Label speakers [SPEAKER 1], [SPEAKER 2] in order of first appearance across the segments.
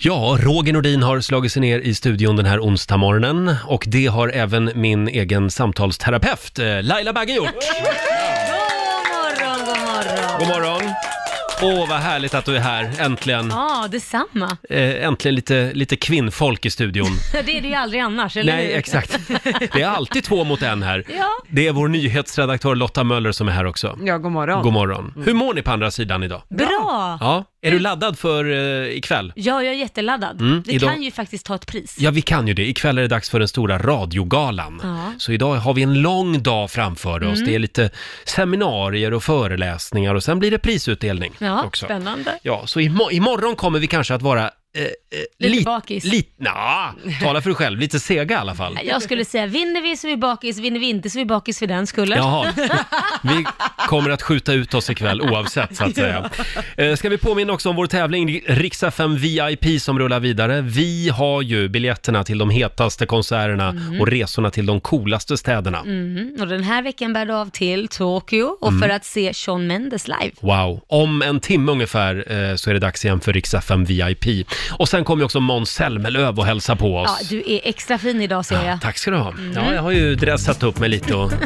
[SPEAKER 1] Ja, Roger Nordin har slagit sig ner i studion den här onsdagmorgonen och det har även min egen samtalsterapeut eh, Laila Bagge gjort.
[SPEAKER 2] morgon, god morgon.
[SPEAKER 1] God morgon! Åh, vad härligt att du är här, äntligen.
[SPEAKER 2] Ja, detsamma.
[SPEAKER 1] Eh, äntligen lite, lite kvinnfolk i studion.
[SPEAKER 2] Det är det ju aldrig annars, eller
[SPEAKER 1] Nej,
[SPEAKER 2] hur?
[SPEAKER 1] exakt. Det är alltid två mot en här.
[SPEAKER 2] Ja.
[SPEAKER 1] Det är vår nyhetsredaktör Lotta Möller som är här också.
[SPEAKER 3] Ja, god morgon.
[SPEAKER 1] God morgon.
[SPEAKER 2] Mm.
[SPEAKER 1] Hur mår ni på andra sidan idag?
[SPEAKER 2] Bra!
[SPEAKER 1] Ja, är du laddad för eh, ikväll?
[SPEAKER 2] Ja, jag är jätteladdad.
[SPEAKER 1] Mm,
[SPEAKER 2] Vi
[SPEAKER 1] idag-
[SPEAKER 2] kan ju faktiskt ta ett pris.
[SPEAKER 1] Ja, vi kan ju det. Ikväll är det dags för den stora radiogalan.
[SPEAKER 2] Ja. Mm.
[SPEAKER 1] Så idag har vi en lång dag framför oss. Det är lite seminarier och föreläsningar och sen blir det prisutdelning
[SPEAKER 2] Ja,
[SPEAKER 1] också.
[SPEAKER 2] spännande.
[SPEAKER 1] Ja, så imo- imorgon kommer vi kanske att vara... Eh, eh,
[SPEAKER 2] Lite
[SPEAKER 1] lit-
[SPEAKER 2] bakis.
[SPEAKER 1] Lit, nja, tala för dig själv. Lite sega i alla fall.
[SPEAKER 2] Jag skulle säga, vinner vi så är vi bakis, vinner vi inte så är vi bakis för den skullen.
[SPEAKER 1] Jaha, vi kommer att skjuta ut oss ikväll oavsett så att säga. Eh, Ska vi påminna också om vår tävling Riksdag 5 VIP som rullar vidare. Vi har ju biljetterna till de hetaste konserterna och resorna till de coolaste städerna.
[SPEAKER 2] Mhm. Mm, och den här veckan bär det av till Tokyo och
[SPEAKER 1] Mm.
[SPEAKER 2] för att se Shawn Mendes live.
[SPEAKER 1] Wow, om en timme ungefär eh, så är det dags igen för Riksdag 5 VIP. Och sen kommer ju också Måns Zelmerlöw och hälsa på
[SPEAKER 2] Ja,
[SPEAKER 1] oss.
[SPEAKER 2] du är extra fin idag ser jag.
[SPEAKER 1] Ah, Tack ska du ha.
[SPEAKER 2] Mm.
[SPEAKER 1] Ja, jag har ju dressat upp mig lite och eh,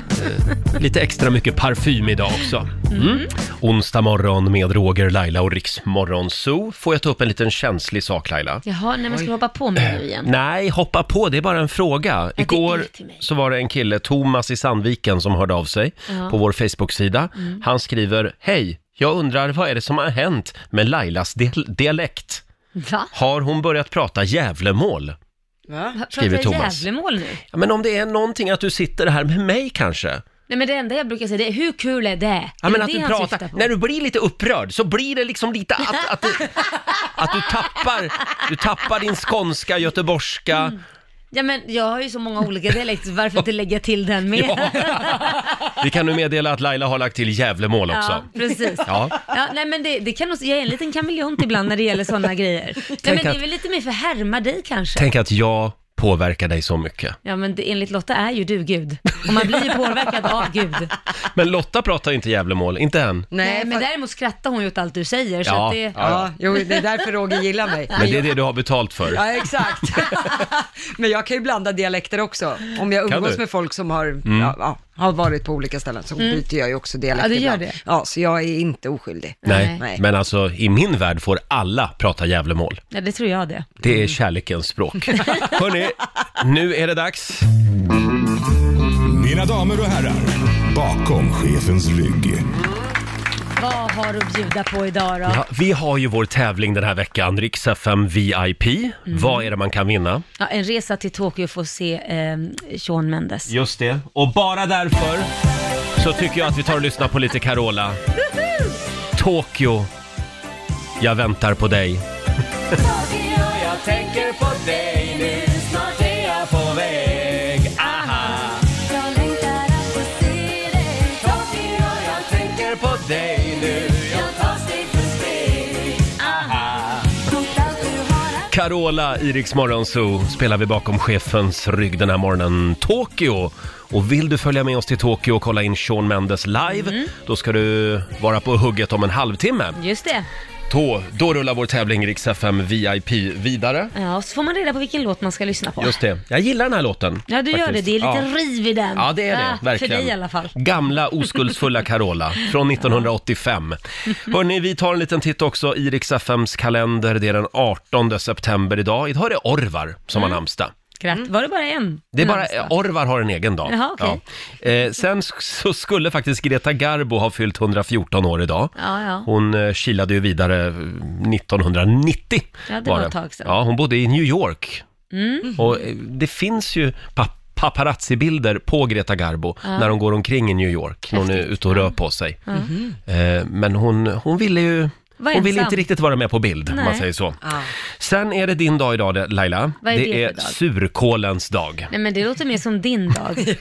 [SPEAKER 1] lite extra mycket parfym idag också. Mm. Onsdag morgon med Roger, Laila och Riksmorgon Zoo. Får jag ta upp en liten känslig sak Laila?
[SPEAKER 2] Jaha, nej men ska du hoppa på
[SPEAKER 1] Äh.
[SPEAKER 2] mig nu igen?
[SPEAKER 1] Nej, hoppa på, det är bara en fråga.
[SPEAKER 2] det är
[SPEAKER 1] Igår
[SPEAKER 2] till mig.
[SPEAKER 1] så var det en kille, Thomas i Sandviken, som hörde av sig
[SPEAKER 2] Ja. Mm.
[SPEAKER 1] på vår Facebook-sida. Han skriver, hej, jag undrar vad är det som har hänt med Lailas dial- dialekt?
[SPEAKER 2] Va?
[SPEAKER 1] Har hon börjat prata Gävlemål?
[SPEAKER 3] Va?
[SPEAKER 1] Skriver
[SPEAKER 2] Pratar jag
[SPEAKER 1] Thomas.
[SPEAKER 2] Gävlemål nu?
[SPEAKER 1] Ja, men om det är någonting att du sitter här med mig kanske?
[SPEAKER 2] Nej men det enda jag brukar säga det är, hur kul är det?
[SPEAKER 1] Ja,
[SPEAKER 2] Är
[SPEAKER 1] men
[SPEAKER 2] det
[SPEAKER 1] att
[SPEAKER 2] det
[SPEAKER 1] du
[SPEAKER 2] han
[SPEAKER 1] pratar,
[SPEAKER 2] syftar på?
[SPEAKER 1] när du blir lite upprörd så blir det liksom lite att, att, du, att du, tappar, du tappar din skånska, göteborgska.
[SPEAKER 2] Mm. Ja men jag har ju så många olika dialekter, varför inte lägga till den med?
[SPEAKER 1] Ja. Vi kan nu meddela att Laila har lagt till Gävlemål också.
[SPEAKER 2] precis. Ja.
[SPEAKER 1] Ja.
[SPEAKER 2] nej men det, det kan nog, jag är en liten kameleont ibland när det gäller sådana grejer. Nej men det
[SPEAKER 1] att-
[SPEAKER 2] är väl lite mer för att härma dig kanske?
[SPEAKER 1] Tänk att jag påverkar dig så mycket.
[SPEAKER 2] Ja men det, enligt Lotta är ju du Gud, och man blir ju påverkad av Gud.
[SPEAKER 1] Men Lotta pratar ju inte Gävlemål, inte än.
[SPEAKER 2] Nej,
[SPEAKER 3] Nej,
[SPEAKER 2] men
[SPEAKER 3] fast-
[SPEAKER 2] däremot skrattar hon ju åt allt du säger så
[SPEAKER 1] Ja.
[SPEAKER 2] att det...
[SPEAKER 1] Ja,
[SPEAKER 3] Ja,
[SPEAKER 1] ja.
[SPEAKER 3] jo, det är därför Roger gillar mig.
[SPEAKER 1] Men det är det du har betalt för.
[SPEAKER 3] Ja, exakt. Men jag kan ju blanda dialekter också. Om jag
[SPEAKER 1] Kan
[SPEAKER 3] umgås
[SPEAKER 1] du? Mm.
[SPEAKER 3] med folk som har, ja, ja, har varit på olika ställen så byter jag ju också dialekt
[SPEAKER 2] Mm. Ja, du gör
[SPEAKER 3] ibland.
[SPEAKER 2] det.
[SPEAKER 3] Ja, så jag är inte oskyldig.
[SPEAKER 1] Nej.
[SPEAKER 3] Nej.
[SPEAKER 1] men alltså i min värld får alla prata Gävlemål.
[SPEAKER 2] Ja, det tror jag det.
[SPEAKER 1] Det är kärlekens språk. Hörni, nu är det dags.
[SPEAKER 4] Mina damer och herrar, bakom chefens rygg.
[SPEAKER 2] Vad har du att bjuda på idag då?
[SPEAKER 1] Ja, vi har ju vår tävling den här veckan, Rix FM VIP. Vad är det man kan vinna?
[SPEAKER 2] Ja, en resa till Tokyo för att se eh, Shawn Mendes.
[SPEAKER 1] Just det. Och bara därför så tycker jag att vi tar och lyssnar på lite Carola. Tokyo, jag väntar på dig.
[SPEAKER 5] Jag tänker på dig nu, snart är jag på väg Jag längtar att få se dig Tokyo, jag tänker på dig nu Jag tar steg för steg Mot allt du har att
[SPEAKER 1] Carola i Rix Morgon Zoo spelar vi bakom chefens rygg den här morgonen. Tokyo! Och vill du följa med oss till Tokyo och kolla in Shawn Mendes live,
[SPEAKER 2] Mm.
[SPEAKER 1] då ska du vara på hugget om en halvtimme.
[SPEAKER 2] Just det.
[SPEAKER 1] Då, då rullar vår tävling Rix FM VIP vidare.
[SPEAKER 2] Ja, och så får man reda på vilken låt man ska lyssna på.
[SPEAKER 1] Just det. Jag gillar den här låten.
[SPEAKER 2] Ja, du gör det.
[SPEAKER 1] faktiskt.
[SPEAKER 2] Det är
[SPEAKER 1] Ja.
[SPEAKER 2] lite riv i den.
[SPEAKER 1] Ja, det är det.
[SPEAKER 2] Ah,
[SPEAKER 1] verkligen.
[SPEAKER 2] För dig i alla fall.
[SPEAKER 1] Gamla oskuldsfulla Carola från 1985. Hörni, vi tar en liten titt också i Rix FMs kalender. Det är den 18 september idag. Idag är det Orvar som
[SPEAKER 2] Mm.
[SPEAKER 1] har namnsdag.
[SPEAKER 2] Gratt. Var det bara en?
[SPEAKER 1] Mm. Det är
[SPEAKER 2] En
[SPEAKER 1] bara, eh,
[SPEAKER 2] namnsdag?
[SPEAKER 1] Orvar har en egen dag.
[SPEAKER 2] Jaha, okej.
[SPEAKER 1] Ja. Eh, sen sk- så skulle faktiskt Greta Garbo ha fyllt 114 år idag.
[SPEAKER 2] Ja, ja.
[SPEAKER 1] Hon eh, kilade ju vidare eh, 1990.
[SPEAKER 2] Ja, det var ett tag sedan. Mm.
[SPEAKER 1] Ja, hon bodde i New York. Och eh, det finns ju pa- paparazzi-bilder på Greta Garbo när hon går omkring i New York, när hon är ute och rör på sig. Eh, Men hon, hon ville ju...
[SPEAKER 2] Mm-hmm. Var
[SPEAKER 1] hon ville
[SPEAKER 2] ensam.
[SPEAKER 1] inte riktigt vara med på bild, om man
[SPEAKER 2] Nej.
[SPEAKER 1] säger så. Sen är det din dag idag, det- Laila.
[SPEAKER 2] Vad är det
[SPEAKER 1] är
[SPEAKER 2] för dag?
[SPEAKER 1] surkålens dag.
[SPEAKER 2] Nej, men det låter mer som din dag.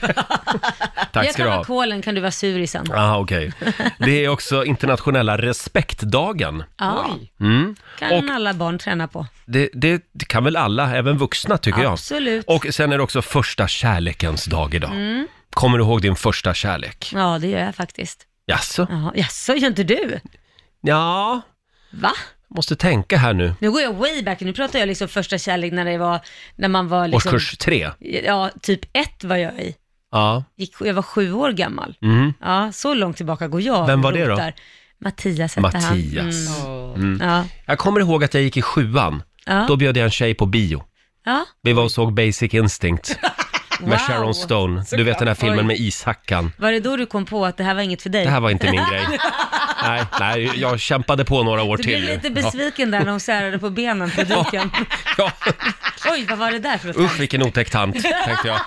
[SPEAKER 1] Tack ska
[SPEAKER 2] jag kan
[SPEAKER 1] du ha.
[SPEAKER 2] vara kolen, kan du vara sur i sen.
[SPEAKER 1] Aha, okej. Det är också internationella respektdagen.
[SPEAKER 2] Ja. Mm. Kan
[SPEAKER 1] Och-
[SPEAKER 2] alla barn träna på.
[SPEAKER 1] Det, det kan väl alla, även vuxna tycker jag.
[SPEAKER 2] Absolut.
[SPEAKER 1] Och sen är det också första kärlekens dag idag.
[SPEAKER 2] Mm.
[SPEAKER 1] Kommer du ihåg din första kärlek?
[SPEAKER 2] Ja, det gör jag faktiskt.
[SPEAKER 1] Jaså?
[SPEAKER 2] Ja, jaså, gör inte du?
[SPEAKER 1] Ja,
[SPEAKER 2] Va?
[SPEAKER 1] Måste tänka här nu.
[SPEAKER 2] Nu går jag way back, nu pratar jag liksom första kärlek när det var, när man var liksom...
[SPEAKER 1] Årskurs tre.
[SPEAKER 2] Ja, typ ett var jag i.
[SPEAKER 1] Ja.
[SPEAKER 2] Gick, jag var sju år gammal.
[SPEAKER 1] Mm.
[SPEAKER 2] Ja, så långt tillbaka går jag.
[SPEAKER 1] Vem var det då?
[SPEAKER 2] Rotar. Mattias hette
[SPEAKER 1] Mattias.
[SPEAKER 2] han.
[SPEAKER 1] Mm.
[SPEAKER 2] Mm. Ja.
[SPEAKER 1] Jag kommer ihåg att jag gick i sjuan.
[SPEAKER 2] Ja.
[SPEAKER 1] Då bjöd jag en tjej på bio.
[SPEAKER 2] ja.
[SPEAKER 1] Vi var och såg Basic Instinct med
[SPEAKER 2] Wow.
[SPEAKER 1] Sharon Stone. Du vet den här filmen med ishackan.
[SPEAKER 2] Var det då du kom på att det här var inget för dig?
[SPEAKER 1] Det här var inte min grej. Nej, nej, jag kämpade på några år
[SPEAKER 2] Du
[SPEAKER 1] till.
[SPEAKER 2] blev
[SPEAKER 1] ju.
[SPEAKER 2] lite
[SPEAKER 1] Ja.
[SPEAKER 2] besviken där när hon särade på benen på duken.
[SPEAKER 1] Ja.
[SPEAKER 2] Oj, vad var det där för
[SPEAKER 1] Usch vilken otäck tant, tänkte jag.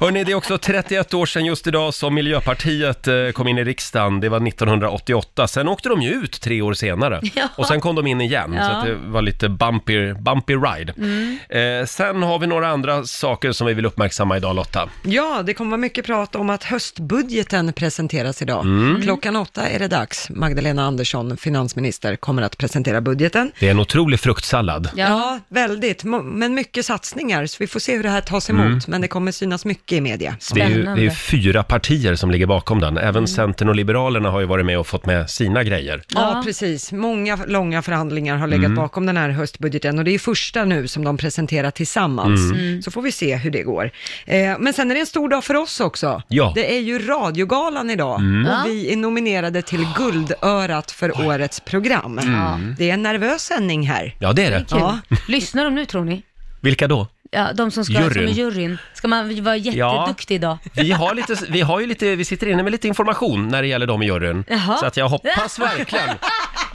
[SPEAKER 1] Hörrni, det är också 31 år sedan just idag som Miljöpartiet eh, kom in i riksdagen. Det var 1988. Sen åkte de ju ut tre år senare.
[SPEAKER 2] Ja.
[SPEAKER 1] Och sen kom de in igen, så
[SPEAKER 2] Ja.
[SPEAKER 1] att det var lite bumpy, bumpy ride.
[SPEAKER 3] Mm.
[SPEAKER 1] Eh, sen har vi några andra saker som vi vill uppmärksamma idag Lotta.
[SPEAKER 3] Ja, det kommer vara mycket prat om att höstbudgeten presenteras idag.
[SPEAKER 1] Mm.
[SPEAKER 3] Klockan åtta är det dags. Magdalena Andersson, finansminister, kommer att presentera budgeten.
[SPEAKER 1] Det är en otrolig fruktsallad.
[SPEAKER 3] Ja, väldigt. Mo- Men mycket satsningar, så vi får se hur det här tas emot.
[SPEAKER 1] Mm.
[SPEAKER 3] Men det kommer synas mycket i media.
[SPEAKER 1] Det är, ju, det är ju fyra partier som ligger bakom den. Även
[SPEAKER 2] Mm.
[SPEAKER 1] Centern och Liberalerna har ju varit med och fått med sina grejer.
[SPEAKER 3] Ja, precis. Många långa förhandlingar har legat
[SPEAKER 1] Mm.
[SPEAKER 3] bakom den här höstbudgeten och det är första nu som de presenterar tillsammans.
[SPEAKER 1] Mm. Mm.
[SPEAKER 3] Så får vi se hur det går. Eh, men sen är det en stor dag för oss också.
[SPEAKER 1] Ja.
[SPEAKER 3] Det är ju radiogalan idag
[SPEAKER 1] Mm. Ja.
[SPEAKER 3] och vi är nominerade till Guldörat för årets program.
[SPEAKER 1] Mm.
[SPEAKER 3] Det är en nervös sändning här.
[SPEAKER 1] Ja, det är det.
[SPEAKER 3] Ja.
[SPEAKER 2] Lyssnar de nu tror ni?
[SPEAKER 1] Vilka då?
[SPEAKER 2] Ja, de som ska
[SPEAKER 1] Juryn.
[SPEAKER 2] som är juryn. Ska man vara jätteduktig idag?
[SPEAKER 1] Vi har, lite, vi har ju lite, vi sitter inne med lite information när det gäller dem i juryn.
[SPEAKER 2] Jaha.
[SPEAKER 1] Så att jag hoppas verkligen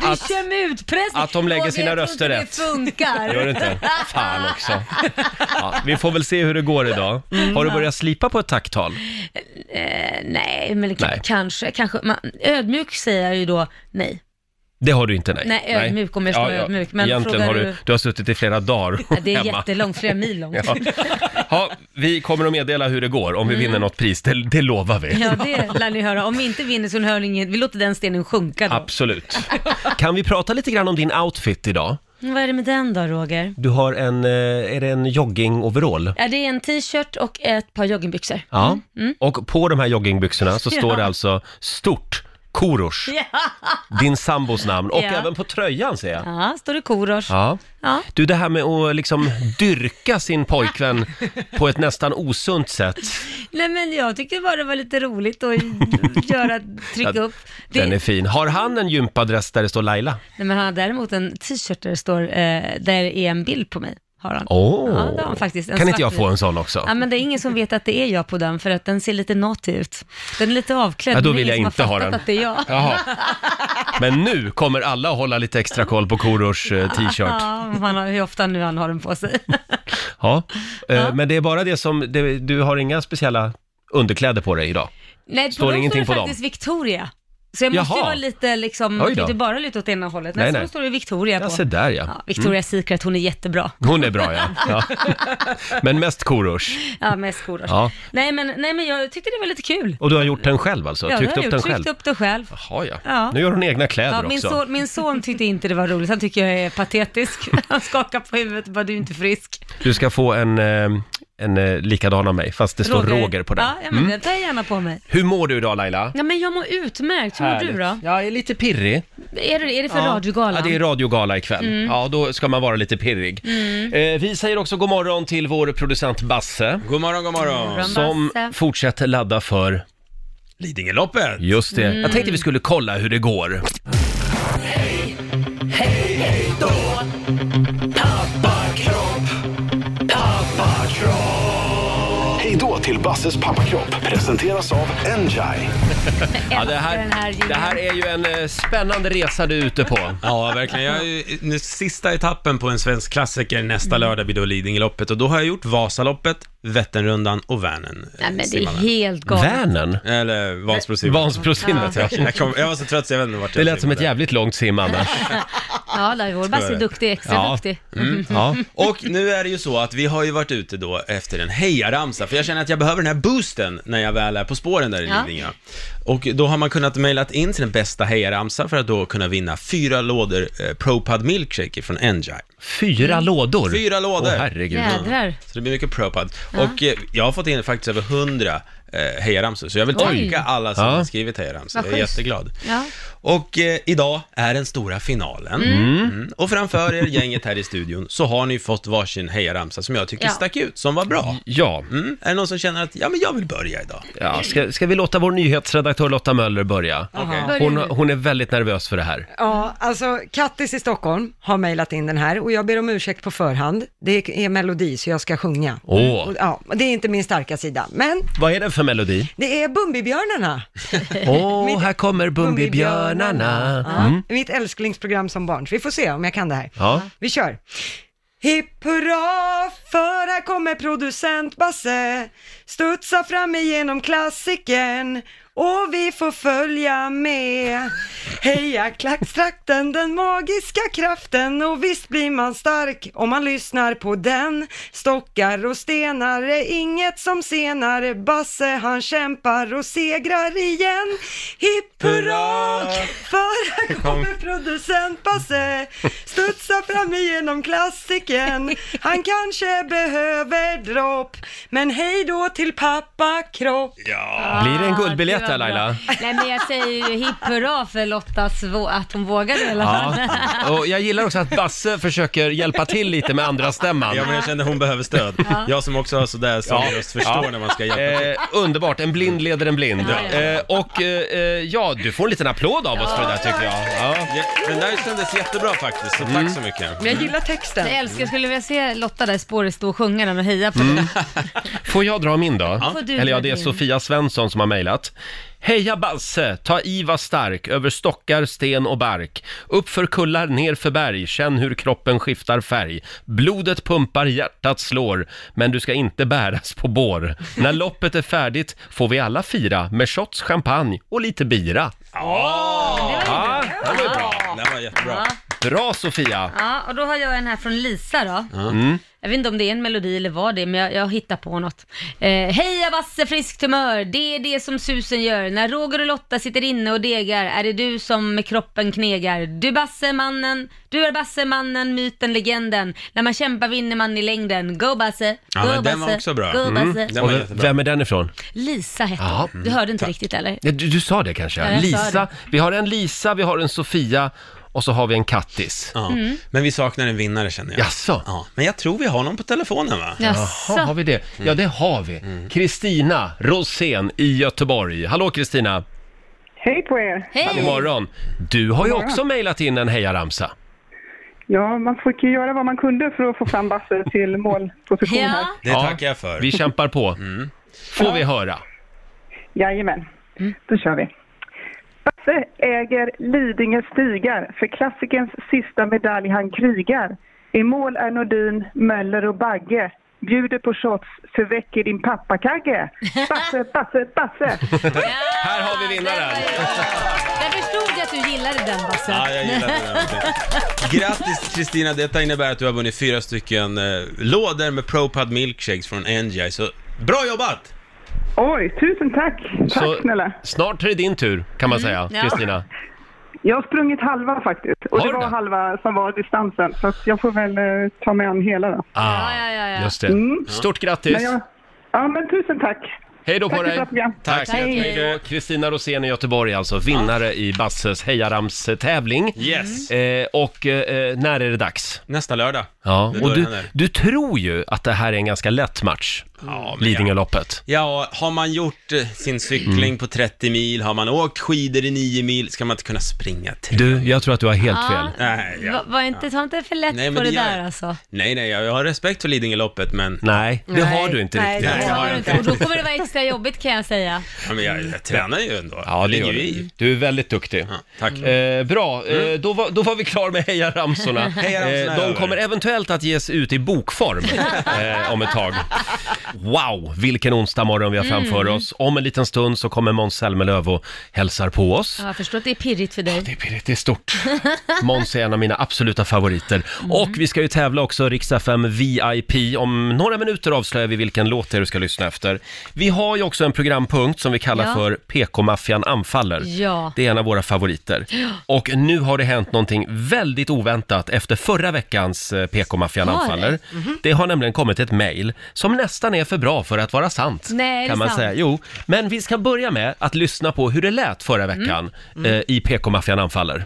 [SPEAKER 2] Du
[SPEAKER 1] att-
[SPEAKER 2] kör med utpressning.
[SPEAKER 1] att de lägger
[SPEAKER 2] Roger,
[SPEAKER 1] sina
[SPEAKER 2] jag tror
[SPEAKER 1] röster
[SPEAKER 2] inte
[SPEAKER 1] rätt.
[SPEAKER 2] Det funkar.
[SPEAKER 1] Gör det inte? Fan också. Ja, vi får väl se hur det går idag.
[SPEAKER 2] Mm.
[SPEAKER 1] Har du börjat slipa på ett tacktal?
[SPEAKER 2] Eh, nej, men k-
[SPEAKER 1] Nej.
[SPEAKER 2] kanske. kanske man, ödmjuk säger jag ju då nej.
[SPEAKER 1] Det har du inte, nej.
[SPEAKER 2] Nej, ödmjuk om jag ska vara ödmjuk, men
[SPEAKER 1] egentligen
[SPEAKER 2] frågar
[SPEAKER 1] har du,
[SPEAKER 2] du-
[SPEAKER 1] du har suttit i flera dagar
[SPEAKER 2] Ja, Det är
[SPEAKER 1] hemma.
[SPEAKER 2] jättelångt, flera mil långt.
[SPEAKER 1] Ja. Ja, vi kommer att meddela hur det går om vi
[SPEAKER 2] Mm.
[SPEAKER 1] vinner något pris, det, det lovar vi.
[SPEAKER 2] Ja, det lär ni höra. Om vi inte vinner så hör ni ingen, vi låter den stenen sjunka då.
[SPEAKER 1] Absolut. Kan vi prata lite grann om din outfit idag?
[SPEAKER 2] Mm, Vad är det med den då, Roger?
[SPEAKER 1] Du har en, eh, är det en jogging-overall?
[SPEAKER 2] Ja, det är en t-shirt och ett par joggingbyxor.
[SPEAKER 1] Ja,
[SPEAKER 2] Mm.
[SPEAKER 1] och på de här joggingbyxorna så
[SPEAKER 2] Ja.
[SPEAKER 1] står det alltså stort Korosh,
[SPEAKER 2] Ja,
[SPEAKER 1] din sambos namn, och
[SPEAKER 2] Ja.
[SPEAKER 1] även på tröjan ser jag.
[SPEAKER 2] ja står det Korosh.
[SPEAKER 1] Ja.
[SPEAKER 2] Ja.
[SPEAKER 1] Du, det här med att liksom dyrka sin pojkvän på ett nästan osunt sätt.
[SPEAKER 2] Nej men jag tycker bara det var lite roligt att göra, trycka upp. Det,
[SPEAKER 1] Den är fin. Har han en gympadress där det står Laila?
[SPEAKER 2] Nej men han har däremot en t-shirt där det står, eh, där är en bild på mig. Har han.
[SPEAKER 1] Åh!
[SPEAKER 2] Ja, det har han faktiskt. En
[SPEAKER 1] kan inte jag
[SPEAKER 2] svart
[SPEAKER 1] få en
[SPEAKER 2] bild.
[SPEAKER 1] sån också?
[SPEAKER 2] Ja men det är ingen som vet att det är jag på den för att den ser lite naughty ut. Den är lite avklädd.
[SPEAKER 1] Ja, då
[SPEAKER 2] men
[SPEAKER 1] vill jag
[SPEAKER 2] ingen som
[SPEAKER 1] inte ha
[SPEAKER 2] fattat
[SPEAKER 1] den.
[SPEAKER 2] att det är jag.
[SPEAKER 1] Jaha. Men nu kommer alla att hålla lite extra koll på Korosh eh, t-shirt.
[SPEAKER 2] Ja, man har, hur ofta nu han har den på sig.
[SPEAKER 1] Ja. Eh, Men det är bara det som, det, du har inga speciella underkläder på dig idag?
[SPEAKER 2] Nej,
[SPEAKER 1] Står
[SPEAKER 2] på dem
[SPEAKER 1] ingenting
[SPEAKER 2] står
[SPEAKER 1] på
[SPEAKER 2] det
[SPEAKER 1] dem?
[SPEAKER 2] faktiskt Victoria. Så jag måste ju
[SPEAKER 1] Jaha.
[SPEAKER 2] vara lite liksom,
[SPEAKER 1] Oj
[SPEAKER 2] man kan ju
[SPEAKER 1] då.
[SPEAKER 2] inte bara luta åt ena hållet.
[SPEAKER 1] Nej,
[SPEAKER 2] Nej, så
[SPEAKER 1] nej. Mm.
[SPEAKER 2] står det Victoria
[SPEAKER 1] Ja,
[SPEAKER 2] på.
[SPEAKER 1] se där ja.
[SPEAKER 2] Ja, Victoria Secret, hon är jättebra.
[SPEAKER 1] Mm. Hon är bra ja. ja. Men mest Korosh.
[SPEAKER 2] Ja, med skolor.
[SPEAKER 1] Ja.
[SPEAKER 2] Nej, men, nej, men jag tyckte det var lite kul.
[SPEAKER 1] Och du har gjort den själv alltså?
[SPEAKER 2] ja, det
[SPEAKER 1] Tryckt
[SPEAKER 2] har jag
[SPEAKER 1] upp den
[SPEAKER 2] gjort.
[SPEAKER 1] själv?
[SPEAKER 2] Tryckt upp det själv.
[SPEAKER 1] Jaha ja.
[SPEAKER 2] Ja.
[SPEAKER 1] Nu gör hon egna kläder
[SPEAKER 2] Ja, min,
[SPEAKER 1] också.
[SPEAKER 2] son, min son tyckte inte det var roligt, han tycker jag är patetisk. Han skakar på huvudet och bara, du är inte frisk.
[SPEAKER 1] Du ska få en, eh, en eh, likadan av mig, fast det står Roger, på den.
[SPEAKER 2] Ja, ja men
[SPEAKER 1] Mm.
[SPEAKER 2] den tar jag gärna på mig.
[SPEAKER 1] Hur mår du idag Laila?
[SPEAKER 2] Ja, men jag mår utmärkt. Hur mår du då?
[SPEAKER 1] Ja, Jag är lite pirrig.
[SPEAKER 2] Är det, är det för
[SPEAKER 1] ja.
[SPEAKER 2] radiogalan?
[SPEAKER 1] Ja, det är radiogala ikväll.
[SPEAKER 2] Mm.
[SPEAKER 1] Ja, då ska man vara lite pirrig.
[SPEAKER 2] Mm.
[SPEAKER 1] Eh, vi säger också god morgon till vår producent Basse.
[SPEAKER 6] God morgon, god morgon.
[SPEAKER 2] God morgon,
[SPEAKER 1] Som
[SPEAKER 2] Basse.
[SPEAKER 1] fortsätter ladda för,
[SPEAKER 6] Lidingöloppet.
[SPEAKER 1] just det,
[SPEAKER 2] Mm.
[SPEAKER 1] jag tänkte vi skulle kolla hur det går.
[SPEAKER 5] Hej, hej då! Pappa kropp, pappa kropp.
[SPEAKER 7] Hej då till Basses pappakropp presenteras av Enjai.
[SPEAKER 1] Ja, det, här, det här är ju en eh, spännande resa du är ute på.
[SPEAKER 6] Ja, verkligen. Jag är ju, nu, sista etappen på en svensk klassiker
[SPEAKER 1] Mm.
[SPEAKER 6] nästa lördag blir då Lidingöloppet och då har jag gjort Vasaloppet, Vätternrundan och Vänern.
[SPEAKER 2] Nej, men det är
[SPEAKER 6] Simmarna.
[SPEAKER 2] helt galet.
[SPEAKER 1] Vänern?
[SPEAKER 6] Eller Vansbrosimmet.
[SPEAKER 1] Vansbrosimmet, ja.
[SPEAKER 6] Jag, jag, kom, jag var så trött så jag vet inte vart jag
[SPEAKER 1] Det lät som ett
[SPEAKER 6] simmade.
[SPEAKER 1] jävligt långt sim annars.
[SPEAKER 2] Ja, där är vår Basse är duktig, extra
[SPEAKER 6] Ja.
[SPEAKER 2] duktig.
[SPEAKER 6] Mm.
[SPEAKER 1] Ja.
[SPEAKER 6] Och nu är det ju så att vi har ju varit ute då efter en hejaramsa, för jag känner att jag behöver den här boosten när jag väl är på spåren där i
[SPEAKER 2] Ja.
[SPEAKER 6] Lidingö. Och då har man kunnat mejla in sin bästa hejaramsa för att då kunna vinna fyra lådor eh, ProPad Milkshake från Enjai.
[SPEAKER 1] Fyra lådor?
[SPEAKER 6] Fyra lådor.
[SPEAKER 1] Åh, herregud.
[SPEAKER 2] Jädrar.
[SPEAKER 6] Så det blir mycket ProPuds.
[SPEAKER 2] Ja.
[SPEAKER 6] Och eh, jag har fått in faktiskt över 100 eh, hejaramsor, så jag vill
[SPEAKER 2] Oj.
[SPEAKER 6] tacka alla som
[SPEAKER 1] Ja.
[SPEAKER 6] har skrivit hejaramsor.
[SPEAKER 2] Vad
[SPEAKER 6] Jag är
[SPEAKER 2] schysst.
[SPEAKER 6] jätteglad.
[SPEAKER 2] Ja.
[SPEAKER 6] Och eh, idag är den stora finalen. Mm. Och framför er, gänget här i studion, så har ni fått varsin hejaramsa som jag tycker
[SPEAKER 2] Ja.
[SPEAKER 6] stack ut, som var bra.
[SPEAKER 1] Ja,
[SPEAKER 6] Mm. Är det någon som känner att, ja men jag vill börja idag?
[SPEAKER 1] ja. Ska, ska vi låta vår nyhetsredaktör Lotta Möller börja?
[SPEAKER 2] Börja
[SPEAKER 1] Hon,
[SPEAKER 2] nu.
[SPEAKER 1] hon är väldigt nervös för det här.
[SPEAKER 3] Ja, alltså Kattis i Stockholm har mejlat in den här och jag ber om ursäkt på förhand. Det är melodi så jag ska sjunga.
[SPEAKER 1] Åh.
[SPEAKER 3] Och, ja, det är inte min starka sida, men
[SPEAKER 1] Vad är det för melodi?
[SPEAKER 3] det är Bumbibjörnarna.
[SPEAKER 1] Åh,
[SPEAKER 3] Mitt-
[SPEAKER 1] här kommer Bumbibjörnarna.
[SPEAKER 3] Ja,
[SPEAKER 1] Mm.
[SPEAKER 3] Mitt älsklingsprogram som barn, så vi får se om jag kan det här.
[SPEAKER 1] Ja.
[SPEAKER 3] Vi kör. Hipp hurra, för här kommer producent Basse. Studsa fram igenom klassiken och vi får följa med. Heja klackstrakten, den magiska kraften och visst blir man stark om man lyssnar på den. Stockar och stenar är inget som senare. Basse han kämpar och segrar igen. Hipp hurra, för här kommer producent Basse. Studsa fram igenom klassiken. Han kanske behöver dropp, men hej då till pappa kropp.
[SPEAKER 1] Blir det en
[SPEAKER 2] Ah,
[SPEAKER 1] guldbiljett
[SPEAKER 2] det var
[SPEAKER 1] där,
[SPEAKER 2] bra.
[SPEAKER 1] Laila?
[SPEAKER 2] Nej men jag säger ju hipp hurra för Lottas vå- att hon vågade i alla fall.
[SPEAKER 1] Ja. Och jag gillar också att Basse försöker hjälpa till lite med andra stämman.
[SPEAKER 6] Ja men jag kände hon behöver stöd. Jag som också har sådär sångröst förstår när man ska hjälpa till.
[SPEAKER 1] Eh, underbart, en blind leder en blind.
[SPEAKER 2] Ja, ja.
[SPEAKER 1] Eh, och eh, eh, ja, du får en liten applåd av oss för det där tycker jag. Ja.
[SPEAKER 6] Ja, den där kändes jättebra faktiskt, så tack så mycket.
[SPEAKER 3] Men jag gillar texten.
[SPEAKER 2] Jag älskar, jag skulle vilja se Lotta där i spåret stå och sjunga den och heja på
[SPEAKER 1] Mm.
[SPEAKER 2] den.
[SPEAKER 1] Får jag dra min då?
[SPEAKER 2] Får du
[SPEAKER 1] Eller ja,
[SPEAKER 2] dra
[SPEAKER 1] det är
[SPEAKER 2] din.
[SPEAKER 1] Sofia Svensson som har mejlat. Heja Basse, ta i var stark, över stockar, sten och bark. Upp för kullar, ner för berg, känn hur kroppen skiftar färg. Blodet pumpar, hjärtat slår, men du ska inte bäras på bår. När loppet är färdigt får vi alla fira med shots, champagne och lite bira. Ja, det var bra.
[SPEAKER 6] Den var jättebra.
[SPEAKER 2] Ja.
[SPEAKER 1] Bra Sofia!
[SPEAKER 2] Ja, och då har jag en här från Lisa då.
[SPEAKER 6] Mm.
[SPEAKER 2] Jag vet inte om det är en melodi eller vad det är, men jag, jag hittar på något. Eh, Heja Basse, friskt humör, det är det som susen gör. När Roger och Lotta sitter inne och degar är det du som med kroppen knegar. Du Basse, mannen, du är Basse, mannen, myten, legenden. När man kämpar vinner man i längden. Go Basse, go
[SPEAKER 6] Ja, men
[SPEAKER 2] Basse,
[SPEAKER 6] den var också bra.
[SPEAKER 2] go
[SPEAKER 6] Mm.
[SPEAKER 2] Basse.
[SPEAKER 6] Den
[SPEAKER 1] Och
[SPEAKER 6] var
[SPEAKER 1] v-
[SPEAKER 6] jättebra.
[SPEAKER 1] vem är den ifrån?
[SPEAKER 2] Lisa hette
[SPEAKER 1] Ja.
[SPEAKER 2] hon. Du hörde inte riktigt eller?
[SPEAKER 1] Ja, Du, du sa det kanske?
[SPEAKER 2] jag sa
[SPEAKER 1] Lisa.
[SPEAKER 2] det.
[SPEAKER 1] Vi har en Lisa, vi har en Sofia och så har vi en Kattis.
[SPEAKER 6] Ja.
[SPEAKER 2] Mm.
[SPEAKER 6] Men vi saknar en vinnare känner jag.
[SPEAKER 1] Jaså?
[SPEAKER 6] Ja. Men jag tror vi har någon på telefonen va?
[SPEAKER 2] Jaså?
[SPEAKER 1] Jaha, har vi det? Ja, det har vi. Kristina Rosén i Göteborg. Hallå Kristina!
[SPEAKER 8] Hej på er!
[SPEAKER 1] God
[SPEAKER 2] Hej!
[SPEAKER 1] morgon! Du har ju också mejlat in en hejaramsa.
[SPEAKER 8] Ja, man fick ju göra vad man kunde för att få fram Basse till målposition här.
[SPEAKER 2] Ja,
[SPEAKER 6] Det
[SPEAKER 1] Ja.
[SPEAKER 6] tackar jag för.
[SPEAKER 1] Vi kämpar på. Får vi höra?
[SPEAKER 8] Jajamän, då kör vi. Basse äger Lidingö stigar, för klassikerns sista medalj han krigar. I mål är Nordin, Möller och Bagge. Bjuder på shots, så väcker din pappakagge. Basse, Basse, Basse!
[SPEAKER 1] Här har vi vinnaren!
[SPEAKER 2] jag förstod att du gillade den Basse.
[SPEAKER 6] Ja, jag gillar det. där också. Grattis Kristina, detta innebär att du har vunnit fyra stycken eh, lådor med ProPud Milkshakes från NGI, så bra jobbat!
[SPEAKER 8] Oj, tusen tack! Tack
[SPEAKER 1] Så
[SPEAKER 8] snälla!
[SPEAKER 1] snart är det din tur, kan man säga,
[SPEAKER 2] ja.
[SPEAKER 1] Kristina.
[SPEAKER 8] Jag har sprungit halva faktiskt, och
[SPEAKER 1] Har
[SPEAKER 8] det
[SPEAKER 1] du
[SPEAKER 8] var
[SPEAKER 1] det?
[SPEAKER 8] halva som var distansen. Så att jag får väl eh, ta mig an hela då.
[SPEAKER 1] Ah,
[SPEAKER 2] ja, ja, ja.
[SPEAKER 1] Just det.
[SPEAKER 8] Mm.
[SPEAKER 1] Stort grattis!
[SPEAKER 8] Men jag, ja, men tusen tack!
[SPEAKER 1] Hej då
[SPEAKER 8] Tack
[SPEAKER 1] på
[SPEAKER 8] för
[SPEAKER 1] dig!
[SPEAKER 8] ett bra program.
[SPEAKER 6] Tack så
[SPEAKER 2] Hej.
[SPEAKER 6] jättemycket.
[SPEAKER 1] Och Kristina Rosén i Göteborg alltså, vinnare i Basses hejaramstävling.
[SPEAKER 6] Yes!
[SPEAKER 1] Eh, och eh, när är det dags?
[SPEAKER 6] Nästa lördag.
[SPEAKER 1] Ja,
[SPEAKER 6] Det
[SPEAKER 1] och
[SPEAKER 6] börjar
[SPEAKER 1] du,
[SPEAKER 6] där.
[SPEAKER 1] du tror ju att det här är en ganska lätt match,
[SPEAKER 6] Ja, men ja.
[SPEAKER 1] Lidingöloppet.
[SPEAKER 6] ja, har man gjort eh, sin cykling
[SPEAKER 1] Mm.
[SPEAKER 6] på 30 mil, har man åkt skidor i 9 mil, ska man inte kunna springa 3
[SPEAKER 1] Du, jag tror att du har helt fel.
[SPEAKER 6] Nej, ja.
[SPEAKER 2] Va- var inte, ta inte för lätt
[SPEAKER 6] Nej, men
[SPEAKER 2] på det,
[SPEAKER 6] det gör
[SPEAKER 2] där
[SPEAKER 6] jag.
[SPEAKER 2] alltså.
[SPEAKER 6] Nej, nej, jag jag har respekt för Lidingöloppet, men,
[SPEAKER 1] Nej, det har du inte
[SPEAKER 3] nej,
[SPEAKER 1] riktigt.
[SPEAKER 3] det
[SPEAKER 6] Nej,
[SPEAKER 3] har
[SPEAKER 6] jag
[SPEAKER 3] jag
[SPEAKER 6] har
[SPEAKER 3] inte.
[SPEAKER 6] inte.
[SPEAKER 2] Och då kommer det vara extra jobbigt kan jag säga.
[SPEAKER 6] ja, men jag, jag tränar ju ändå.
[SPEAKER 1] Ja,
[SPEAKER 6] Jag
[SPEAKER 1] det
[SPEAKER 6] ligger
[SPEAKER 1] gör
[SPEAKER 6] ju i.
[SPEAKER 1] du. Du är väldigt duktig.
[SPEAKER 6] Ja, tack.
[SPEAKER 1] Eh, bra, eh, då, var, då var vi klar med hejaramsorna.
[SPEAKER 6] Hejaramsorna är
[SPEAKER 1] de
[SPEAKER 6] över.
[SPEAKER 1] kommer eventuellt att ges ut i bokform eh, om ett tag. Wow, vilken onsdag morgon vi har framför oss. Om en liten stund så kommer Måns Zelmerlöw och hälsar på oss.
[SPEAKER 2] Ja, jag förstår att det är pirrigt för dig.
[SPEAKER 1] Det är pirrigt, det är stort. Måns är en av mina absoluta favoriter. Och vi ska ju tävla också, Rix FM VIP. Om några minuter avslöjar vi vilken låt det är du ska lyssna efter. Vi har har ju också en programpunkt som vi kallar
[SPEAKER 2] Ja.
[SPEAKER 1] för PK-maffian anfaller.
[SPEAKER 2] Ja.
[SPEAKER 1] Det är en av våra favoriter. Och nu har det hänt någonting väldigt oväntat efter förra veckans eh, PK-maffian
[SPEAKER 2] Har det? Mhm.
[SPEAKER 1] anfaller. Det har nämligen kommit ett mejl som nästan är för bra för att vara sant.
[SPEAKER 2] Nej, är det
[SPEAKER 1] kan man
[SPEAKER 2] sant?
[SPEAKER 1] säga. Jo, men vi ska börja med att lyssna på hur det lät förra
[SPEAKER 2] Mm.
[SPEAKER 1] veckan eh, i PK-maffian anfaller.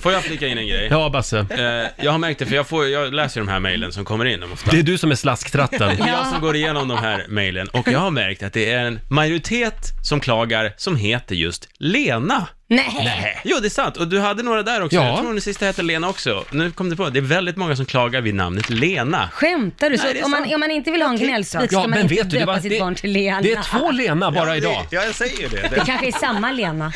[SPEAKER 6] Får jag flika in en grej?
[SPEAKER 1] Ja, Basse.
[SPEAKER 6] Eh, jag har märkt det, för jag, får, jag läser ju de här mejlen som kommer in ofta.
[SPEAKER 1] Det är du som är slasktratten.
[SPEAKER 6] Det är jag som går igenom de här mejlen och jag har märkt att det är en majoritet som klagar som heter just Lena.
[SPEAKER 2] Nej.
[SPEAKER 6] Jo, det är sant. Och du hade några där också.
[SPEAKER 1] Ja.
[SPEAKER 6] Jag tror den sista hette Lena också. Nu kom det på, det är väldigt många som klagar vid namnet Lena.
[SPEAKER 2] Skämtar du? Så
[SPEAKER 6] Nej, det är
[SPEAKER 2] om, man,
[SPEAKER 6] sant.
[SPEAKER 2] om man inte vill ha en gnällspik ska man inte döpa
[SPEAKER 1] var-
[SPEAKER 2] sitt barn till Lena.
[SPEAKER 1] det är två Lena bara idag.
[SPEAKER 6] Ja, jag säger det.
[SPEAKER 2] Det kanske är samma Lena.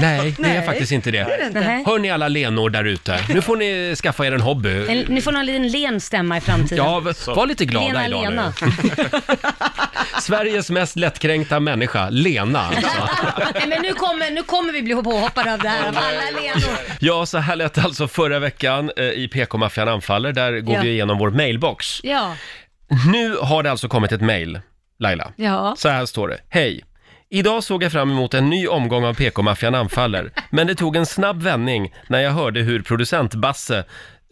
[SPEAKER 1] Nej, det är
[SPEAKER 3] Nej.
[SPEAKER 1] faktiskt inte det.
[SPEAKER 2] Nej.
[SPEAKER 1] Hör ni alla Lenor där ute, nu får ni skaffa er en hobby.
[SPEAKER 2] En, nu får någon en len stämma i framtiden.
[SPEAKER 1] Ja, v- var lite glada
[SPEAKER 2] Lena,
[SPEAKER 1] idag
[SPEAKER 2] Lena.
[SPEAKER 1] nu. Sveriges mest lättkränkta människa, Lena alltså.
[SPEAKER 2] Nej, men nu kommer, nu kommer vi bli påhoppade av det här, av alla Lenor.
[SPEAKER 1] Ja, så här lät det alltså förra veckan eh, i PK-maffian anfaller. Där går
[SPEAKER 2] Ja.
[SPEAKER 1] vi igenom vår mailbox.
[SPEAKER 2] Ja,
[SPEAKER 1] Nu har det alltså kommit ett mail, Laila.
[SPEAKER 2] ja.
[SPEAKER 1] Så här står det. Hej! Idag såg jag fram emot en ny omgång av PK-maffian anfaller, men det tog en snabb vändning när jag hörde hur producent Basse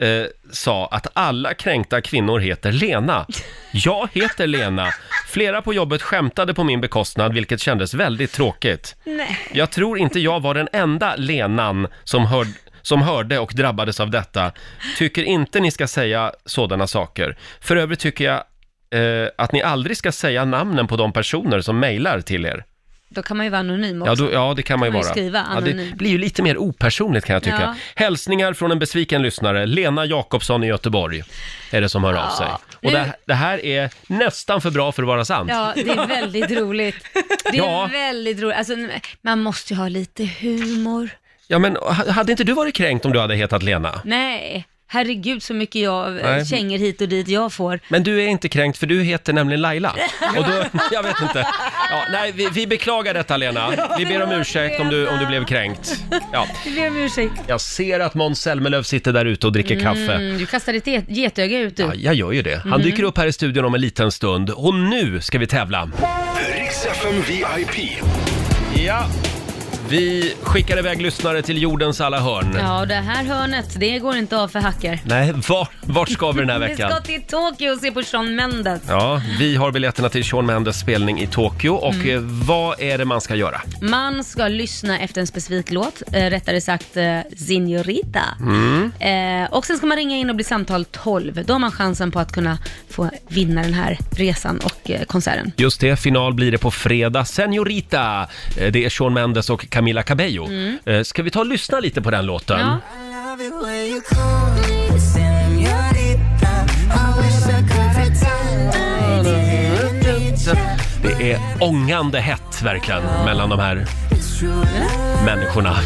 [SPEAKER 1] eh, sa att alla kränkta kvinnor heter Lena. Jag heter Lena. Flera på jobbet skämtade på min bekostnad, vilket kändes väldigt tråkigt. Jag tror inte jag var den enda Lenan som, hör, som hörde och drabbades av detta. Tycker inte ni ska säga sådana saker. För övrigt tycker jag eh, att ni aldrig ska säga namnen på de personer som mejlar till er.
[SPEAKER 2] Då kan man ju vara anonym också.
[SPEAKER 1] Ja, då, ja det kan man ju
[SPEAKER 2] Kan man ju
[SPEAKER 1] vara.
[SPEAKER 2] skriva
[SPEAKER 1] ja, det
[SPEAKER 2] anonym.
[SPEAKER 1] blir ju lite mer opersonligt kan jag tycka.
[SPEAKER 2] Ja.
[SPEAKER 1] Hälsningar från en besviken lyssnare, Lena Jakobsson i Göteborg, är det som hör av
[SPEAKER 2] Ja.
[SPEAKER 1] sig. Och
[SPEAKER 2] Nu-
[SPEAKER 1] det, det här är nästan för bra för att vara sant.
[SPEAKER 2] Ja, det är väldigt roligt. Det är
[SPEAKER 1] Ja.
[SPEAKER 2] väldigt roligt. Alltså, man måste ju ha lite humor.
[SPEAKER 1] Ja, men h- hade inte du varit kränkt om du hade hetat Lena?
[SPEAKER 2] Nej, herregud så mycket jag eh,
[SPEAKER 1] Nej.
[SPEAKER 2] kängor hit och dit jag får.
[SPEAKER 1] Men du är inte kränkt för du heter nämligen Laila. Och då, jag vet inte. Ja, nej, vi, vi beklagar detta Lena. Vi ber om ursäkt om du, om du blev kränkt. Ja.
[SPEAKER 2] Jag ber om ursäkt.
[SPEAKER 1] Jag ser att Måns Zelmerlöw sitter där ute och dricker kaffe.
[SPEAKER 2] Mm, du kastar ditt get- getöga ut du.
[SPEAKER 1] Ja, jag gör ju det. Han dyker upp här i studion om en liten stund. Och nu ska vi tävla.
[SPEAKER 7] Riks FM VIP.
[SPEAKER 1] Ja. Vi skickar iväg lyssnare till jordens alla hörn.
[SPEAKER 2] Ja, och det här hörnet, det går inte av för hackor.
[SPEAKER 1] Nej, var, vart ska vi den här
[SPEAKER 2] Vi
[SPEAKER 1] veckan?
[SPEAKER 2] ska till Tokyo och se på Shawn Mendes.
[SPEAKER 1] Ja, vi har biljetterna till Shawn Mendes spelning i Tokyo och
[SPEAKER 2] Mm.
[SPEAKER 1] eh, vad är det man ska göra?
[SPEAKER 2] Man ska lyssna efter en specifik låt, eh, rättare sagt eh, Signorita.
[SPEAKER 1] Mm.
[SPEAKER 2] Eh, och sen ska man ringa in och bli samtal 12. Då har man chansen på att kunna få vinna den här resan och eh, konserten.
[SPEAKER 1] Just det, final blir det på fredag. Senorita, eh, det är Shawn Mendes och Camila Cabello. Eh, Ska vi ta och lyssna lite på den låten?
[SPEAKER 2] Mm. Ja.
[SPEAKER 1] Det är ångande hett verkligen mellan de här människorna.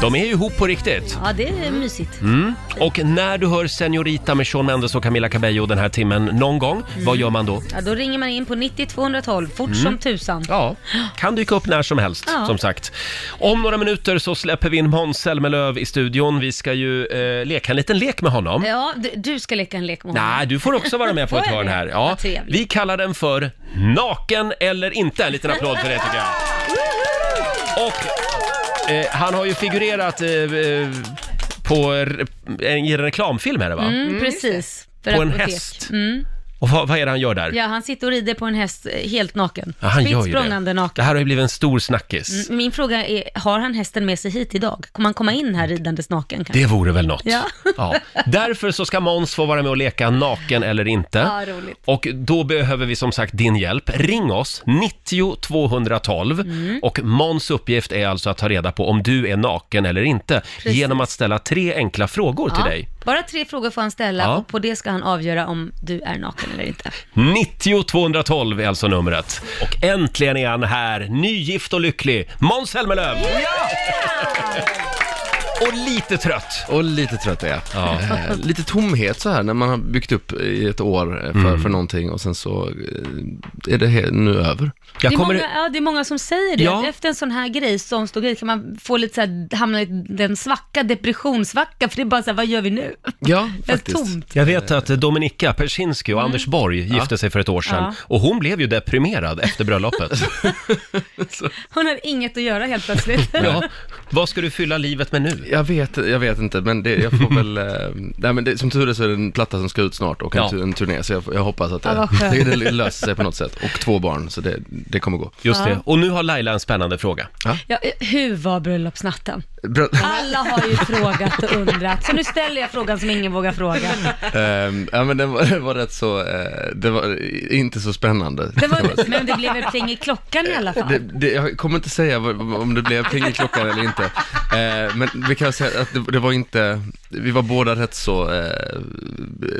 [SPEAKER 1] De är ju ihop på riktigt.
[SPEAKER 2] ja, det är mysigt.
[SPEAKER 1] Mm. Och när du hör Senorita med Shawn Mendes och Camila Cabello den här timmen någon gång,
[SPEAKER 2] Mm.
[SPEAKER 1] vad gör man då?
[SPEAKER 2] Ja, då ringer man in på 90-212, fort
[SPEAKER 1] Mm.
[SPEAKER 2] som tusan.
[SPEAKER 1] Ja, kan dyka upp när som helst,
[SPEAKER 2] Ja.
[SPEAKER 1] som sagt. Om några minuter så släpper vi in Måns Zelmerlöw i studion. Vi ska ju eh, leka en liten lek med honom.
[SPEAKER 2] Ja, du, du ska leka en lek med honom.
[SPEAKER 1] Nej, du får också vara med på
[SPEAKER 2] Får
[SPEAKER 1] ett
[SPEAKER 2] jag
[SPEAKER 1] hörn
[SPEAKER 2] det?
[SPEAKER 1] här. Ja,
[SPEAKER 2] Vad trevligt.
[SPEAKER 1] vi kallar den för Naken eller inte. En liten applåd för det tycker jag. Och eh, han har ju figurerat eh, eh, på re- en, i en reklamfilm är det va?
[SPEAKER 2] Mm, precis. För
[SPEAKER 1] På en
[SPEAKER 2] apotek.
[SPEAKER 1] häst.
[SPEAKER 2] Mm.
[SPEAKER 1] Och vad, vad är det han gör där?
[SPEAKER 2] Ja, han sitter och rider på en häst eh, helt naken.
[SPEAKER 1] Ja, han gör
[SPEAKER 2] Spritt
[SPEAKER 1] ju
[SPEAKER 2] språngande
[SPEAKER 1] det. Det
[SPEAKER 2] naken. Mm.
[SPEAKER 1] här har ju blivit en stor snackis.
[SPEAKER 2] Min fråga är, har han hästen med sig hit idag? Kommer han komma in här ridandes naken? Kanske?
[SPEAKER 1] Det vore väl något.
[SPEAKER 2] Ja.
[SPEAKER 1] Därför så ska Måns få vara med och leka naken eller inte.
[SPEAKER 2] Ja, roligt.
[SPEAKER 1] Och då behöver vi som sagt din hjälp. Ring oss, 90 212.
[SPEAKER 2] Mm.
[SPEAKER 1] Och Måns uppgift är alltså att ta reda på om du är naken eller inte genom att ställa tre enkla frågor till dig.
[SPEAKER 2] Bara tre frågor får han ställa
[SPEAKER 1] Ja.
[SPEAKER 2] och på det ska han avgöra om du är naken eller inte.
[SPEAKER 1] 90 212 är alltså numret. Och äntligen är han här, nygift och lycklig, Måns Zelmerlöw! Och lite trött.
[SPEAKER 9] Och lite trött är jag.
[SPEAKER 1] Ja.
[SPEAKER 9] Eh, lite tomhet så här när man har byggt upp i ett år eh, för,
[SPEAKER 1] Mm.
[SPEAKER 9] för någonting och sen så eh, är det he- nu över.
[SPEAKER 2] Det är, många, ja, det är många som säger det.
[SPEAKER 9] Ja.
[SPEAKER 2] Efter en sån här grej, sån stor grej, kan man få lite så här, hamna i den svacka, depressionssvacka, för det är bara så här, vad gör vi nu?
[SPEAKER 9] Ja,
[SPEAKER 2] Det är faktiskt. tomt.
[SPEAKER 1] Jag vet att Dominika Persinski och
[SPEAKER 2] Mm.
[SPEAKER 1] Anders Borg gifte sig för ett år sedan
[SPEAKER 2] Ja.
[SPEAKER 1] och hon blev ju deprimerad efter bröllopet.
[SPEAKER 2] Hon har inget att göra helt plötsligt.
[SPEAKER 1] ja. Vad ska du fylla livet med nu?
[SPEAKER 9] Jag vet, jag vet inte, men det, jag får väl... Eh, nej, men det, som tur är så är det en platta som ska ut snart och en,
[SPEAKER 1] Ja.
[SPEAKER 9] tu- en turné, så jag, jag hoppas att
[SPEAKER 2] Ja,
[SPEAKER 9] det,
[SPEAKER 2] vad skönt.
[SPEAKER 9] det, det löser sig på något sätt. Och två barn, så det, det kommer gå.
[SPEAKER 1] Just det.
[SPEAKER 2] Ja.
[SPEAKER 1] Och nu har Laila en spännande fråga.
[SPEAKER 2] Ja, eh, hur var bröllopsnatten?
[SPEAKER 9] Bra,
[SPEAKER 2] Alla har ju frågat och undrat, så nu ställer jag frågan som ingen vågar fråga.
[SPEAKER 9] ehm, ja, men det var, det var rätt så... Eh, det var inte så spännande.
[SPEAKER 2] Det var, men det blev väl pling i klockan i alla
[SPEAKER 9] Det,
[SPEAKER 2] fall?
[SPEAKER 9] det, jag kommer inte säga vad, vad- om det blev pling i klockan eller inte. Eh, men vi kan säga att det, det var inte, vi var båda rätt så eh,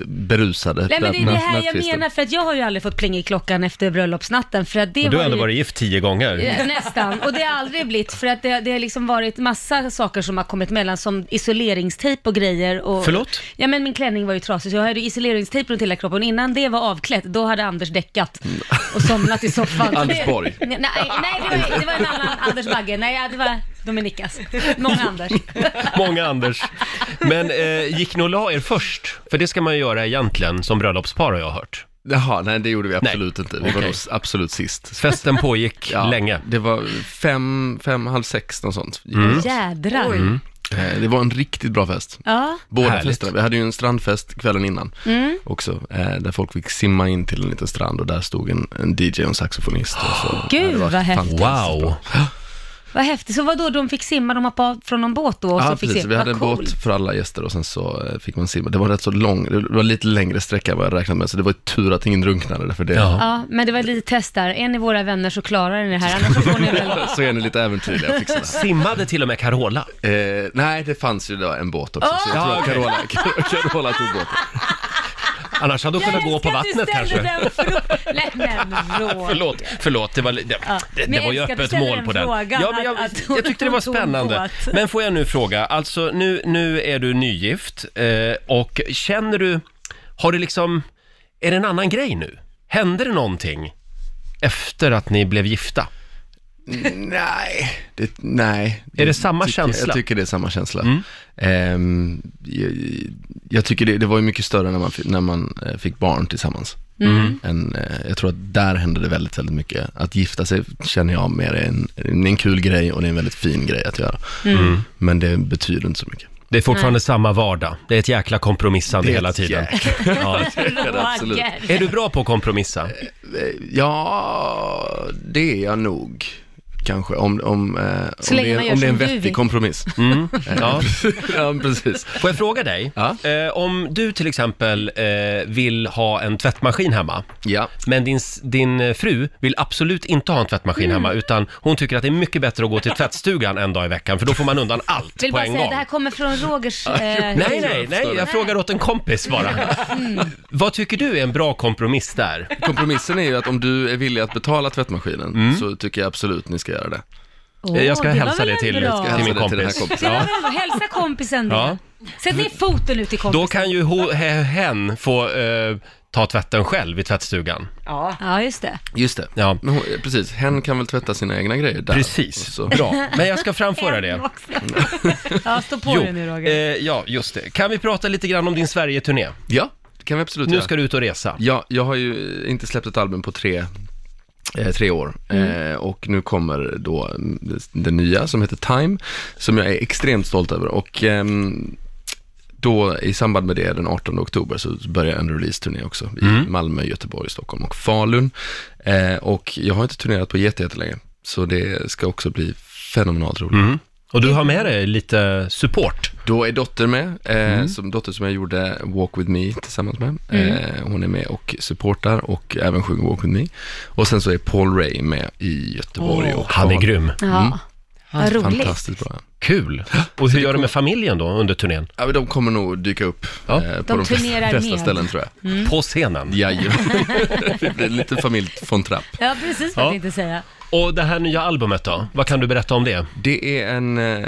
[SPEAKER 9] berusade.
[SPEAKER 2] Nej men det är det
[SPEAKER 9] natt-
[SPEAKER 2] här jag
[SPEAKER 9] nattkvisten.
[SPEAKER 2] menar, för att jag har ju aldrig fått pling i klockan efter bröllopsnatten, för att det
[SPEAKER 1] Och du
[SPEAKER 2] var
[SPEAKER 1] har ändå
[SPEAKER 2] ju...
[SPEAKER 1] varit gift tio gånger.
[SPEAKER 9] Mm.
[SPEAKER 2] Ja, Eh, Nästan, och det har aldrig blivit för att det, det har liksom varit massa saker som har kommit mellan som isoleringstejp och grejer. Och,
[SPEAKER 1] Förlåt?
[SPEAKER 2] Ja men min klänning var ju trasig så jag hade isoleringstejp runt hela kroppen och innan det var avklätt då hade Anders däckat och somnat i soffan.
[SPEAKER 9] Anders
[SPEAKER 2] Det-
[SPEAKER 9] Borg.
[SPEAKER 2] Nej, nej det, var, det var en annan Anders Bagge, nej det var Dominikas. Många Anders.
[SPEAKER 1] Många Anders. Men eh, gick ni och la er först? För det ska man ju göra egentligen som bröllopspar har jag hört.
[SPEAKER 9] Jaha, nej det gjorde vi absolut inte. Vi var
[SPEAKER 1] Okej.
[SPEAKER 9] nog s- absolut sist.
[SPEAKER 1] Festen pågick
[SPEAKER 9] Ja,
[SPEAKER 1] länge. Mm.
[SPEAKER 9] Det var fem, fem, halv sex, något sånt.
[SPEAKER 2] Jädrar.
[SPEAKER 9] Eh, Det var en riktigt bra fest.
[SPEAKER 2] Ja.
[SPEAKER 9] Båda
[SPEAKER 1] Härligt.
[SPEAKER 9] festerna. Vi hade ju en strandfest kvällen innan
[SPEAKER 2] Mm.
[SPEAKER 9] också, eh, där folk fick simma in till en liten strand och där stod en, en DJ och en saxofonist. Och så,
[SPEAKER 2] Gud,
[SPEAKER 9] ja, det var
[SPEAKER 2] vad häftigt.
[SPEAKER 9] fantastiskt bra.
[SPEAKER 1] Wow!
[SPEAKER 2] Vad häftigt. Så vadå, de fick simma, de hoppade av från någon båt då? Och
[SPEAKER 9] ja,
[SPEAKER 2] så fick
[SPEAKER 9] precis.
[SPEAKER 2] simma.
[SPEAKER 9] Vi
[SPEAKER 2] Vad
[SPEAKER 9] hade en
[SPEAKER 2] coolt.
[SPEAKER 9] båt för alla gäster och sen så eh, fick man simma. Det var rätt så lång, det var lite längre sträcka än vad jag räknat med, så det var tur att ingen drunknade, därför det,
[SPEAKER 1] Ja.
[SPEAKER 2] Ja, men det var lite test där. Är ni våra vänner så klarar ni det här, annars så får ni väl...
[SPEAKER 9] så är ni lite äventyrliga och fixar det.
[SPEAKER 1] Simmade till och med Carola.
[SPEAKER 9] Eh, nej, det fanns ju då en båt också, så jag
[SPEAKER 1] Ah,
[SPEAKER 9] tror att
[SPEAKER 1] okej.
[SPEAKER 9] Carola, Carola tog båten.
[SPEAKER 1] Annars hade hon kunnat gå på vattnet kanske.
[SPEAKER 2] Jag älskar att du ställde den frågan. Nej, men Roger.
[SPEAKER 1] Förlåt, förlåt, det var, det,
[SPEAKER 2] Ja,
[SPEAKER 1] det,
[SPEAKER 2] men
[SPEAKER 1] det
[SPEAKER 2] jag
[SPEAKER 1] var ju
[SPEAKER 2] älskar att
[SPEAKER 1] öppet
[SPEAKER 2] du ställer
[SPEAKER 1] mål
[SPEAKER 2] den
[SPEAKER 1] på den.
[SPEAKER 2] frågan,
[SPEAKER 1] ja, men jag,
[SPEAKER 2] att- att hon-
[SPEAKER 1] jag tyckte det var
[SPEAKER 2] hon tog
[SPEAKER 1] spännande.
[SPEAKER 2] båt.
[SPEAKER 1] Men får jag nu fråga, alltså nu, nu är du nygift eh, och känner du, har du liksom, är det en annan grej nu? Hände det någonting efter att ni blev gifta?
[SPEAKER 9] Nej, det, nej.
[SPEAKER 1] Är det samma
[SPEAKER 9] tycker,
[SPEAKER 1] känsla? Mm.
[SPEAKER 9] Jag tycker det är samma känsla. Ehm, jag, jag tycker det, det var ju mycket större när man, fi- när man eh, fick barn tillsammans.
[SPEAKER 2] Mm.
[SPEAKER 1] Mm.
[SPEAKER 9] Än, eh, jag tror att där hände det väldigt, väldigt mycket. Att gifta sig känner jag mer är en, det är en kul grej och det är en väldigt fin grej att göra.
[SPEAKER 2] Mm.
[SPEAKER 9] Men det betyder inte så mycket.
[SPEAKER 1] Mm. Det är fortfarande samma vardag, det är ett jäkla kompromissande
[SPEAKER 9] Det är
[SPEAKER 1] hela
[SPEAKER 9] ett
[SPEAKER 1] tiden. Ja.
[SPEAKER 9] absolut.
[SPEAKER 2] Roger.
[SPEAKER 1] Är du bra på att kompromissa?
[SPEAKER 9] Eh, Ja, det är jag nog. Kanske, om, om, eh, om,
[SPEAKER 2] länge
[SPEAKER 9] det,
[SPEAKER 2] man
[SPEAKER 9] är,
[SPEAKER 2] gör
[SPEAKER 9] om det är en
[SPEAKER 2] som du
[SPEAKER 9] vettig
[SPEAKER 2] vill.
[SPEAKER 9] kompromiss. Eh,
[SPEAKER 1] Mm. Ja.
[SPEAKER 9] ja, precis.
[SPEAKER 1] Får jag fråga dig,
[SPEAKER 9] Ja.
[SPEAKER 1] eh, om du till exempel eh, vill ha en tvättmaskin hemma,
[SPEAKER 9] Ja.
[SPEAKER 1] Men din, din eh, fru vill absolut inte ha en tvättmaskin
[SPEAKER 2] Mm.
[SPEAKER 1] hemma utan hon tycker att det är mycket bättre att gå till tvättstugan en dag i veckan för då får man undan allt
[SPEAKER 2] Vill
[SPEAKER 1] på
[SPEAKER 2] bara
[SPEAKER 1] en
[SPEAKER 2] säga,
[SPEAKER 1] gång.
[SPEAKER 2] det här kommer från Rogers... Eh,
[SPEAKER 1] Nej, nej, nej, jag frågar åt en kompis bara.
[SPEAKER 2] Mm.
[SPEAKER 1] Vad tycker du är en bra kompromiss där?
[SPEAKER 9] Kompromissen är ju att om du är villig att betala tvättmaskinen
[SPEAKER 1] Mm.
[SPEAKER 9] så tycker jag absolut ni ska göra det.
[SPEAKER 2] Åh,
[SPEAKER 1] Eh, jag ska
[SPEAKER 2] det var
[SPEAKER 1] hälsa
[SPEAKER 2] väl
[SPEAKER 1] det
[SPEAKER 2] en
[SPEAKER 1] till,
[SPEAKER 2] bra-
[SPEAKER 9] Jag ska
[SPEAKER 1] till min
[SPEAKER 9] hälsa det till den här
[SPEAKER 1] kompis.
[SPEAKER 9] kompisen.
[SPEAKER 2] Det var
[SPEAKER 1] ja.
[SPEAKER 2] väl bra. Hälsa kompisen det.
[SPEAKER 1] Ja.
[SPEAKER 2] Sätt ner foten ut till kompisen.
[SPEAKER 1] Då kan ju ho, he, hen få eh, ta tvätten själv i tvättstugan.
[SPEAKER 3] Ja.
[SPEAKER 2] Ja, just det.
[SPEAKER 9] Just det.
[SPEAKER 1] Ja.
[SPEAKER 9] Men hon, precis, hen kan väl tvätta sina egna grejer där. Och
[SPEAKER 1] Precis,
[SPEAKER 9] Så.
[SPEAKER 1] bra. Men jag ska framföra det.
[SPEAKER 2] En också. ja, stå på dig nu Roger.
[SPEAKER 1] eh, ja, just det. Kan vi prata lite grann om din Sverige-turné?
[SPEAKER 9] Ja, det kan vi absolut
[SPEAKER 1] Nu
[SPEAKER 9] göra.
[SPEAKER 1] ska du ut och resa.
[SPEAKER 9] Ja, jag har ju eh, inte släppt ett album på tre, eh, tre år. Eh, och nu kommer då mm, det- det nya som heter Time, som jag är extremt stolt över. Och ehm, då i samband med det den 18 oktober så börjar en release-turné också i Malmö, Göteborg, Stockholm och Falun. Eh, och jag har inte turnerat på jätte- jättelänge, så det ska också bli fenomenalt roligt.
[SPEAKER 1] Och du har med dig lite support.
[SPEAKER 9] Då är Dotter med, eh,
[SPEAKER 1] Mm.
[SPEAKER 9] som Dotter som jag gjorde Walk With Me tillsammans med. Eh, hon är med och supportar och även sjunger Walk With Me. Och sen så är Paul Ray med i Göteborg. och
[SPEAKER 1] Han är
[SPEAKER 9] Falun.
[SPEAKER 1] grym.
[SPEAKER 2] Ja, vad roligt.
[SPEAKER 9] Fantastiskt bra.
[SPEAKER 1] Kul! Och hur gör du med familjen då under turnén?
[SPEAKER 9] Ja, men de kommer nog dyka upp
[SPEAKER 1] Ja.
[SPEAKER 9] eh, på
[SPEAKER 2] De
[SPEAKER 9] de, flesta,
[SPEAKER 2] turnerar
[SPEAKER 9] flesta
[SPEAKER 2] med.
[SPEAKER 9] ställen tror jag.
[SPEAKER 1] På scenen.
[SPEAKER 9] Jajamän. det blir lite familj von Trapp.
[SPEAKER 2] Ja, precis vad
[SPEAKER 1] Ja.
[SPEAKER 2] jag tänkte säga.
[SPEAKER 1] Och det här nya albumet då? Vad kan du berätta om det?
[SPEAKER 9] Det är en... Eh,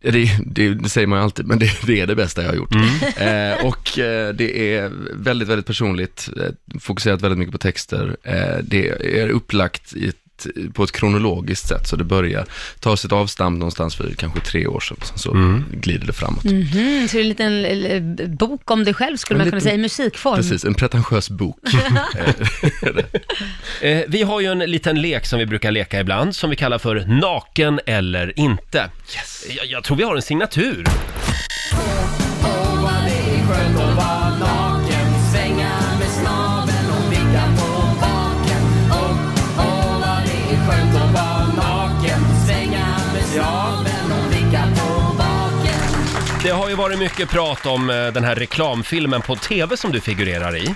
[SPEAKER 9] Ja, Det, det, det säger man ju alltid, men det, det är det bästa jag har gjort. Eh, och eh, det är väldigt, väldigt personligt, eh, fokuserat väldigt mycket på texter. Eh, det är upplagt i ett, på ett kronologiskt sätt, så det börjar ta sitt avstamp någonstans för kanske tre år sedan, sen så glider det framåt.
[SPEAKER 2] Mhm, så det är en liten eh, bok om dig själv skulle
[SPEAKER 9] En
[SPEAKER 2] man kunna
[SPEAKER 9] liten-
[SPEAKER 2] säga, i musikform.
[SPEAKER 9] Precis, en pretentiös bok.
[SPEAKER 1] Eh, vi har ju en liten lek som vi brukar leka ibland som vi kallar för Naken eller inte. Jag, jag tror vi har en signatur.
[SPEAKER 5] Åh, vad det är skönt att vara naken Svänga med snaveln och blicka på baken Åh, åh, vad det är skönt att vara naken Svänga med snaveln och blicka på baken
[SPEAKER 1] Det har ju varit mycket prat om eh, den här reklamfilmen på TV som du figurerar i.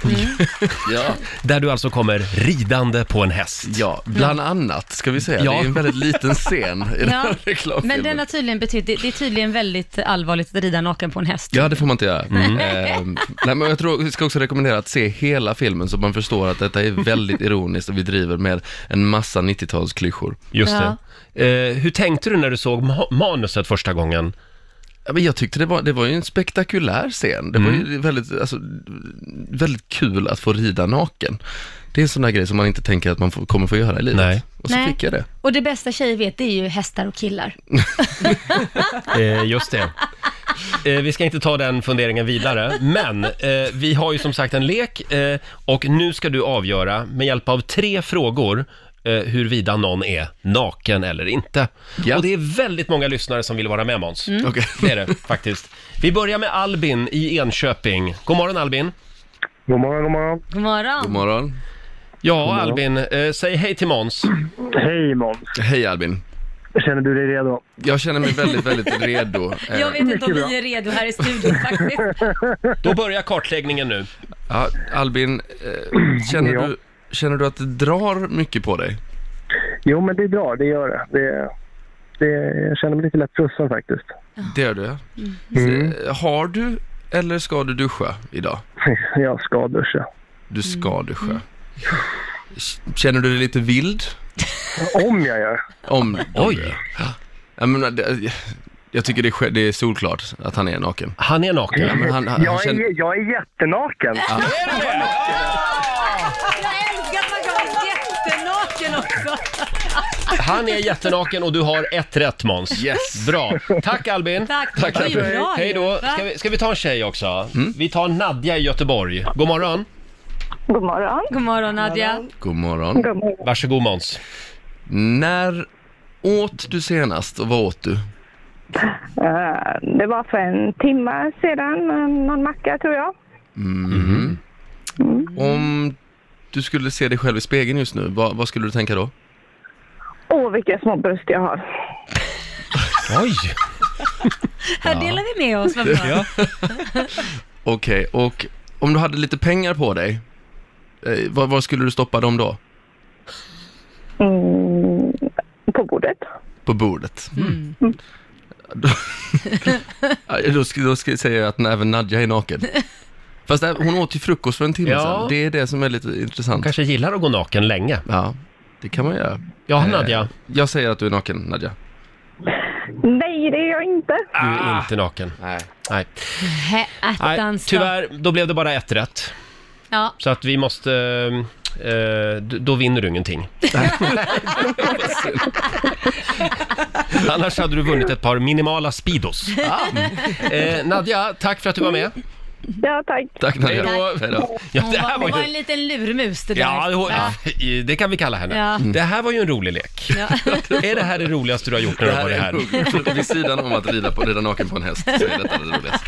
[SPEAKER 9] ja.
[SPEAKER 1] Där du alltså kommer ridande på en häst.
[SPEAKER 9] Ja, bland annat ska vi säga.
[SPEAKER 1] Ja.
[SPEAKER 9] Det är en väldigt liten scen i den här reklamfilmen.
[SPEAKER 2] men den har tydligen betytt, det, det är tydligen väldigt allvarligt att rida naken på en häst.
[SPEAKER 9] Ja, det får man inte göra. Ehm, nej, men jag tror, jag ska också rekommendera att se hela filmen så man förstår att detta är väldigt ironiskt och vi driver med en massa 90-talsklyschor.
[SPEAKER 1] Just
[SPEAKER 2] Ja.
[SPEAKER 1] det. Eh, hur tänkte du när du såg ma- manuset första gången?
[SPEAKER 9] Ja, men jag tyckte det var, det var ju en spektakulär scen. Det var ju väldigt, alltså, väldigt kul att få rida naken. Det är en sån där grej som man inte tänker att man får, kommer få göra i livet.
[SPEAKER 1] Nej.
[SPEAKER 9] Och så
[SPEAKER 2] Nej.
[SPEAKER 9] fick jag det.
[SPEAKER 2] Och det bästa tjejer vet, det är ju hästar och killar.
[SPEAKER 1] Eh, just det. Eh, vi ska inte ta den funderingen vidare, men eh, vi har ju som sagt en lek eh, och nu ska du avgöra med hjälp av tre frågor eh, huruvida någon är naken eller inte.
[SPEAKER 9] Ja.
[SPEAKER 1] Och det är väldigt många lyssnare som vill vara med Måns.
[SPEAKER 2] Mm.
[SPEAKER 9] Okej.
[SPEAKER 1] Det är det faktiskt. Vi börjar med Albin i Enköping. God morgon Albin!
[SPEAKER 10] God morgon, god morgon.
[SPEAKER 2] God morgon.
[SPEAKER 9] God morgon.
[SPEAKER 1] Ja, Albin, eh, säg hej till Måns.
[SPEAKER 10] Hej Måns.
[SPEAKER 9] Hej Albin.
[SPEAKER 10] Känner du dig redo?
[SPEAKER 9] Jag känner mig väldigt, väldigt redo. Eh,
[SPEAKER 2] Jag vet inte om
[SPEAKER 10] Mycket
[SPEAKER 2] vi är redo här i studion faktiskt.
[SPEAKER 1] Då börjar kartläggningen nu.
[SPEAKER 9] Ja, Albin, eh, känner,
[SPEAKER 10] Ja.
[SPEAKER 9] du, känner du att det drar mycket på dig?
[SPEAKER 10] Jo, men det drar, det gör det. det, det jag känner mig lite lätt frusen faktiskt.
[SPEAKER 9] Det gör du, ja.
[SPEAKER 10] Mm.
[SPEAKER 9] Eh, Har du eller ska du duscha idag?
[SPEAKER 10] Jag ska duscha.
[SPEAKER 9] Du ska duscha. K- Känner du dig lite vild?
[SPEAKER 10] Om jag gör.
[SPEAKER 9] Om,
[SPEAKER 1] Oj.
[SPEAKER 9] Ja. Jag, menar, det, jag tycker det är, sj- det är solklart att han är naken.
[SPEAKER 1] Han är naken.
[SPEAKER 9] Ja, men han, han, han
[SPEAKER 10] Jag
[SPEAKER 9] känner,
[SPEAKER 10] är, jag är jättenaken.
[SPEAKER 2] Jag älskar att man kan vara jättenaken också.
[SPEAKER 1] Han är jättenaken och du har ett rätt Måns.
[SPEAKER 9] Yes.
[SPEAKER 1] Bra. Tack Albin.
[SPEAKER 2] Tack, det var ju bra ju.
[SPEAKER 1] Hej då.
[SPEAKER 2] Va?
[SPEAKER 1] Ska vi, ska vi ta en tjej också?
[SPEAKER 9] Mm.
[SPEAKER 1] Vi tar Nadja i Göteborg. God morgon.
[SPEAKER 11] God morgon.
[SPEAKER 2] God morgon Nadja.
[SPEAKER 9] god morgon.
[SPEAKER 11] God morgon.
[SPEAKER 1] Varsågod Måns.
[SPEAKER 9] När åt du senast och vad åt du?
[SPEAKER 11] Eh, Det var för en timme sedan, eh, någon macka tror jag.
[SPEAKER 9] Om du skulle se dig själv i spegeln just nu, vad, vad skulle du tänka då?
[SPEAKER 11] Åh, vilka små bröst jag har.
[SPEAKER 1] Oj!
[SPEAKER 2] Här delar vi med oss, vad bra.
[SPEAKER 1] Ja.
[SPEAKER 9] Okej, och om du hade lite pengar på dig, eh, var, var skulle du stoppa dem då?
[SPEAKER 11] Mm, på bordet.
[SPEAKER 9] På bordet.
[SPEAKER 1] Mm.
[SPEAKER 9] Då, Ja, då, ska, då ska jag säga att även Nadja är naken. Fast det- hon åt ju frukost för en timme
[SPEAKER 1] Ja.
[SPEAKER 9] sedan. Det är det som är lite intressant.
[SPEAKER 1] Kanske gillar att gå naken länge.
[SPEAKER 9] Ja, det kan man göra.
[SPEAKER 1] Ja, Nadja.
[SPEAKER 9] Jag säger att du är naken, Nadja.
[SPEAKER 11] Nej, det är jag inte.
[SPEAKER 1] Du är inte naken.
[SPEAKER 9] Ah. Nej.
[SPEAKER 1] Nej.
[SPEAKER 2] Hä,
[SPEAKER 1] Nej,
[SPEAKER 2] attans då.
[SPEAKER 1] tyvärr, då blev det bara ett rätt.
[SPEAKER 2] Ja.
[SPEAKER 1] Så att vi måste... eh, eh, d- då vinner du ingenting. Annars hade du vunnit ett par minimala Speedos.
[SPEAKER 9] Ah.
[SPEAKER 1] Eh, Nadja, tack för att du var med.
[SPEAKER 11] Ja, tack.
[SPEAKER 9] Tack Nadja.
[SPEAKER 1] Hej då. Ja,
[SPEAKER 2] Hon
[SPEAKER 1] det
[SPEAKER 2] var,
[SPEAKER 1] här
[SPEAKER 2] hon var
[SPEAKER 1] var
[SPEAKER 2] en
[SPEAKER 1] ju...
[SPEAKER 2] liten lurmus det där.
[SPEAKER 1] Ja, det,
[SPEAKER 2] Va?
[SPEAKER 1] var- det kan vi kalla henne.
[SPEAKER 2] Ja.
[SPEAKER 9] Mm.
[SPEAKER 1] Det här var ju en rolig lek. Är det här det roligaste du har gjort när
[SPEAKER 9] Det
[SPEAKER 1] du har
[SPEAKER 9] här
[SPEAKER 1] varit
[SPEAKER 9] är
[SPEAKER 1] här?
[SPEAKER 9] roligt. Vid sidan om att rida, på, rida naken på en häst så är detta det roligaste.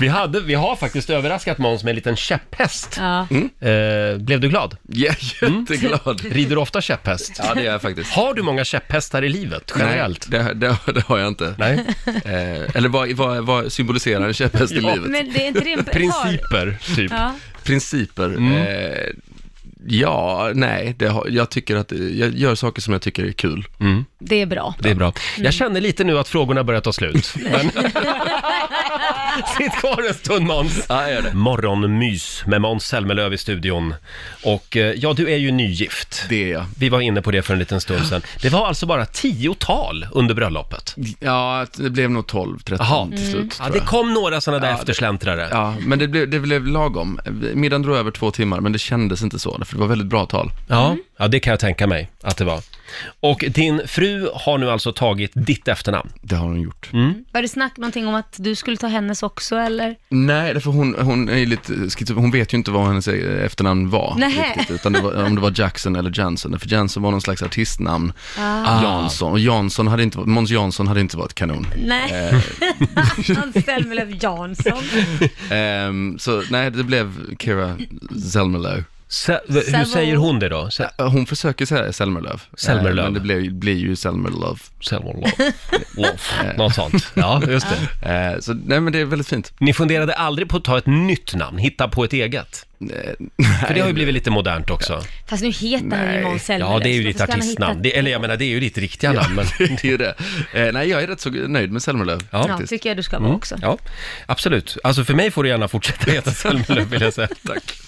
[SPEAKER 1] Vi, hade, vi har faktiskt överraskat Måns med en liten käpphäst.
[SPEAKER 2] Ja.
[SPEAKER 1] Eh, blev du glad?
[SPEAKER 9] Jag är
[SPEAKER 1] Mm.
[SPEAKER 9] jätteglad.
[SPEAKER 1] Rider du ofta käpphäst?
[SPEAKER 9] Ja, det är jag faktiskt.
[SPEAKER 1] Har du många käpphästar i livet generellt?
[SPEAKER 9] Nej, det, det, det har jag inte.
[SPEAKER 1] Nej.
[SPEAKER 9] Eh, eller vad, vad, vad symboliserar en käpphäst i livet?
[SPEAKER 2] Men det är inte det en par-
[SPEAKER 1] Principer, typ.
[SPEAKER 2] Ja.
[SPEAKER 9] Principer. Eh, Ja, nej, det har, jag tycker att, jag gör saker som jag tycker är kul.
[SPEAKER 2] Det är bra.
[SPEAKER 1] Det är bra.
[SPEAKER 2] Mm.
[SPEAKER 1] Jag känner lite nu att frågorna börjar ta slut. Men... Sitt kvar en stund Måns. Ja, gör det. Morgonmys med Måns Zelmerlöw i studion. Och eh, ja, du är ju nygift.
[SPEAKER 9] Det är jag.
[SPEAKER 1] Vi var inne på det för en liten stund sedan. Det var alltså bara tio tal under bröllopet.
[SPEAKER 9] Ja, det blev nog 12, 13
[SPEAKER 1] Jaha.
[SPEAKER 9] till slut.
[SPEAKER 1] Mm. Ja,
[SPEAKER 9] tror
[SPEAKER 1] det
[SPEAKER 9] jag.
[SPEAKER 1] kom några sådana där
[SPEAKER 9] Ja, det-
[SPEAKER 1] eftersläntrare.
[SPEAKER 9] Ja, men det blev, det blev lagom. Middagen drog över två timmar, men det kändes inte så, för det var väldigt bra tal.
[SPEAKER 1] Ja, ja, det kan jag tänka mig att det var. Och din fru har nu alltså tagit ditt efternamn?
[SPEAKER 9] Det har hon gjort.
[SPEAKER 2] Var det snack någonting om att du skulle ta hennes också eller?
[SPEAKER 9] Nej, därför hon, hon är ju lite schizofren. Hon vet ju inte vad hennes eh, efternamn var.
[SPEAKER 2] Nähä.
[SPEAKER 9] Riktigt, utan det var, om det var Jackson eller Jansson. För Jansson var någon slags artistnamn.
[SPEAKER 2] Ah.
[SPEAKER 9] Jansson. Och Jansson hade inte, Måns Jansson hade inte varit kanon.
[SPEAKER 2] Nej.
[SPEAKER 9] Eh,
[SPEAKER 2] Hans Zelmerlöw Jansson.
[SPEAKER 9] ehm, så nej, det blev Kira Zelmerlöw.
[SPEAKER 1] hur säger hon det då?
[SPEAKER 9] Hon försöker säga Zelmerlöw.
[SPEAKER 1] Zelmerlöw.
[SPEAKER 9] Eh, Men det blir, blir ju Zelmerlöw.
[SPEAKER 1] Zelmerlöw. Eh, Något sånt. Ja, just
[SPEAKER 9] det. Ehm, Så, nej men det är väldigt fint.
[SPEAKER 1] Ni funderade aldrig på att ta ett nytt namn, hitta på ett eget? För det har ju blivit lite modernt också.
[SPEAKER 2] Fast nu heter han ju Måns Zelmerlöw.
[SPEAKER 1] Ja, det är ju
[SPEAKER 2] så
[SPEAKER 1] ditt
[SPEAKER 2] varför ska han ha
[SPEAKER 1] artistnamn.
[SPEAKER 2] hittat-
[SPEAKER 1] Det, eller jag menar, det är ju ditt riktiga namn. Men...
[SPEAKER 9] det är ju det. Ehm, nej, jag är rätt så nöjd med Zelmerlöw.
[SPEAKER 1] Ja,
[SPEAKER 2] Ja, tycker jag du ska vara
[SPEAKER 1] Mm,
[SPEAKER 2] också.
[SPEAKER 1] Ja, absolut. Alltså för mig får du gärna fortsätta heta Zelmerlöw vill jag säga. Tack.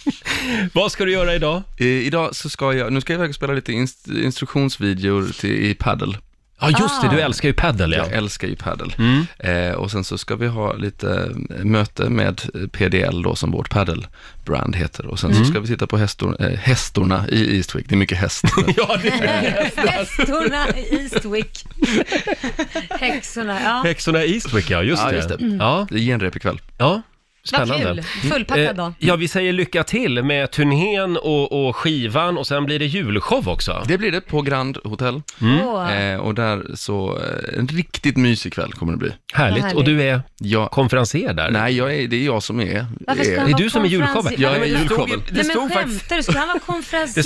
[SPEAKER 1] Vad ska du göra idag?
[SPEAKER 9] idag så ska jag, nu ska jag iväg och spela lite inst- instruktionsvideor till, i paddel.
[SPEAKER 1] Ja, just det, du
[SPEAKER 2] Ah.
[SPEAKER 1] älskar ju padel. Ja. Mm.
[SPEAKER 9] Jag älskar ju padel. Eh, och sen så ska vi ha lite eh, möte med eh, PDL då som vårt padelbrand heter. Och sen
[SPEAKER 1] Mm.
[SPEAKER 9] så ska vi titta på hästor, eh, hästorna i Eastwick. Det är mycket häst.
[SPEAKER 1] ja, det
[SPEAKER 2] Hästorna i Eastwick. Häxorna, ja.
[SPEAKER 1] Häxorna i Eastwick, ja, just
[SPEAKER 9] Ja,
[SPEAKER 1] det.
[SPEAKER 9] just det.
[SPEAKER 1] Ja.
[SPEAKER 9] Det är genrep ikväll.
[SPEAKER 1] Ja,
[SPEAKER 2] Vad
[SPEAKER 1] spännande.
[SPEAKER 2] kul. Fullpackad
[SPEAKER 1] Eh,
[SPEAKER 2] dag.
[SPEAKER 1] Ja, vi säger lycka till med turnén och, och skivan och sen blir det julshow också.
[SPEAKER 9] Det blir det på Grand Hotel.
[SPEAKER 1] Mm.
[SPEAKER 2] Åh.
[SPEAKER 9] Eh, och där så, eh, en riktigt mysig kväll kommer det bli.
[SPEAKER 1] Härligt. Vad härligt. Och du är
[SPEAKER 9] konferenser
[SPEAKER 1] där?
[SPEAKER 9] Nej, jag är, det är jag som är.
[SPEAKER 2] Varför ska han
[SPEAKER 9] är
[SPEAKER 2] vara konferens-
[SPEAKER 9] Jag är
[SPEAKER 2] Nej, men det stod-
[SPEAKER 9] julshowen.
[SPEAKER 2] Nej men skämtar du? Ska han vara konferencier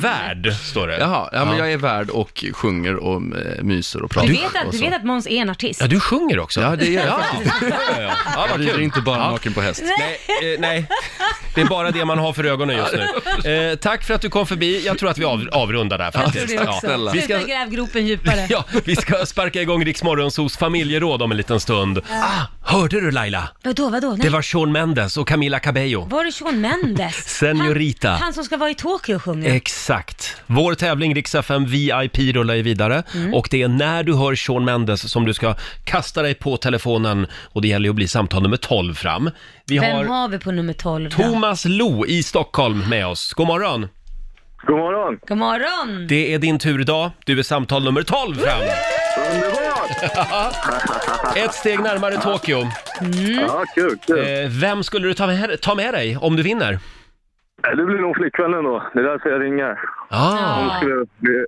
[SPEAKER 2] för vem?
[SPEAKER 1] står det.
[SPEAKER 9] Jaha, ja, men
[SPEAKER 1] Ja.
[SPEAKER 9] jag är värd och sjunger och eh, myser och pratar.
[SPEAKER 2] Du vet, att,
[SPEAKER 9] och
[SPEAKER 2] du
[SPEAKER 9] så.
[SPEAKER 2] vet att Måns är en artist?
[SPEAKER 1] alltså. du sjunger också?
[SPEAKER 9] Ja, det gör jag
[SPEAKER 1] Ja.
[SPEAKER 9] faktiskt.
[SPEAKER 1] ja. Ja,
[SPEAKER 9] jag
[SPEAKER 1] vad
[SPEAKER 9] rider
[SPEAKER 1] kul.
[SPEAKER 9] inte bara naken på häst.
[SPEAKER 1] Nej, eh, nej, det är bara det man har för ögonen just nu. Eh, tack för att du kom förbi. Jag tror att vi av, avrundar där
[SPEAKER 2] Jag tror
[SPEAKER 1] faktiskt.
[SPEAKER 2] det också.
[SPEAKER 1] Vi
[SPEAKER 2] Sluta
[SPEAKER 1] ska,
[SPEAKER 2] gräv gropen djupare.
[SPEAKER 1] ja, vi ska sparka igång Rix Morgonzos familjeråd om en liten stund.
[SPEAKER 2] Ja.
[SPEAKER 1] Ah, hörde du Laila?
[SPEAKER 2] Vadå, vadå? Nej.
[SPEAKER 1] Det var Shawn Mendes och Camila Cabello.
[SPEAKER 2] Var det Shawn Mendes?
[SPEAKER 1] Senorita.
[SPEAKER 2] Han som ska vara i Tokyo och sjunga.
[SPEAKER 1] Eh, Exakt. Vår tävling Rix FM VIP rullar ju vidare
[SPEAKER 2] Mm.
[SPEAKER 1] och det är när du hör Shawn Mendes som du ska kasta dig på telefonen och det gäller ju att bli samtal nummer 12 fram. Vi
[SPEAKER 2] Vem
[SPEAKER 1] har
[SPEAKER 2] har vi på nummer 12? då?
[SPEAKER 1] Thomas Lo i Stockholm med oss. God morgon!
[SPEAKER 12] God morgon!
[SPEAKER 2] God morgon!
[SPEAKER 1] Det är din tur idag. Du är samtal nummer 12 fram. Ett steg närmare Tokyo.
[SPEAKER 12] Ja, kul, kul.
[SPEAKER 1] Eh, Vem skulle du ta med, ta med dig om du vinner?
[SPEAKER 12] Det blir nog flickvännen då. Det är därför jag ringer.
[SPEAKER 1] Ah.
[SPEAKER 12] Hon skulle bli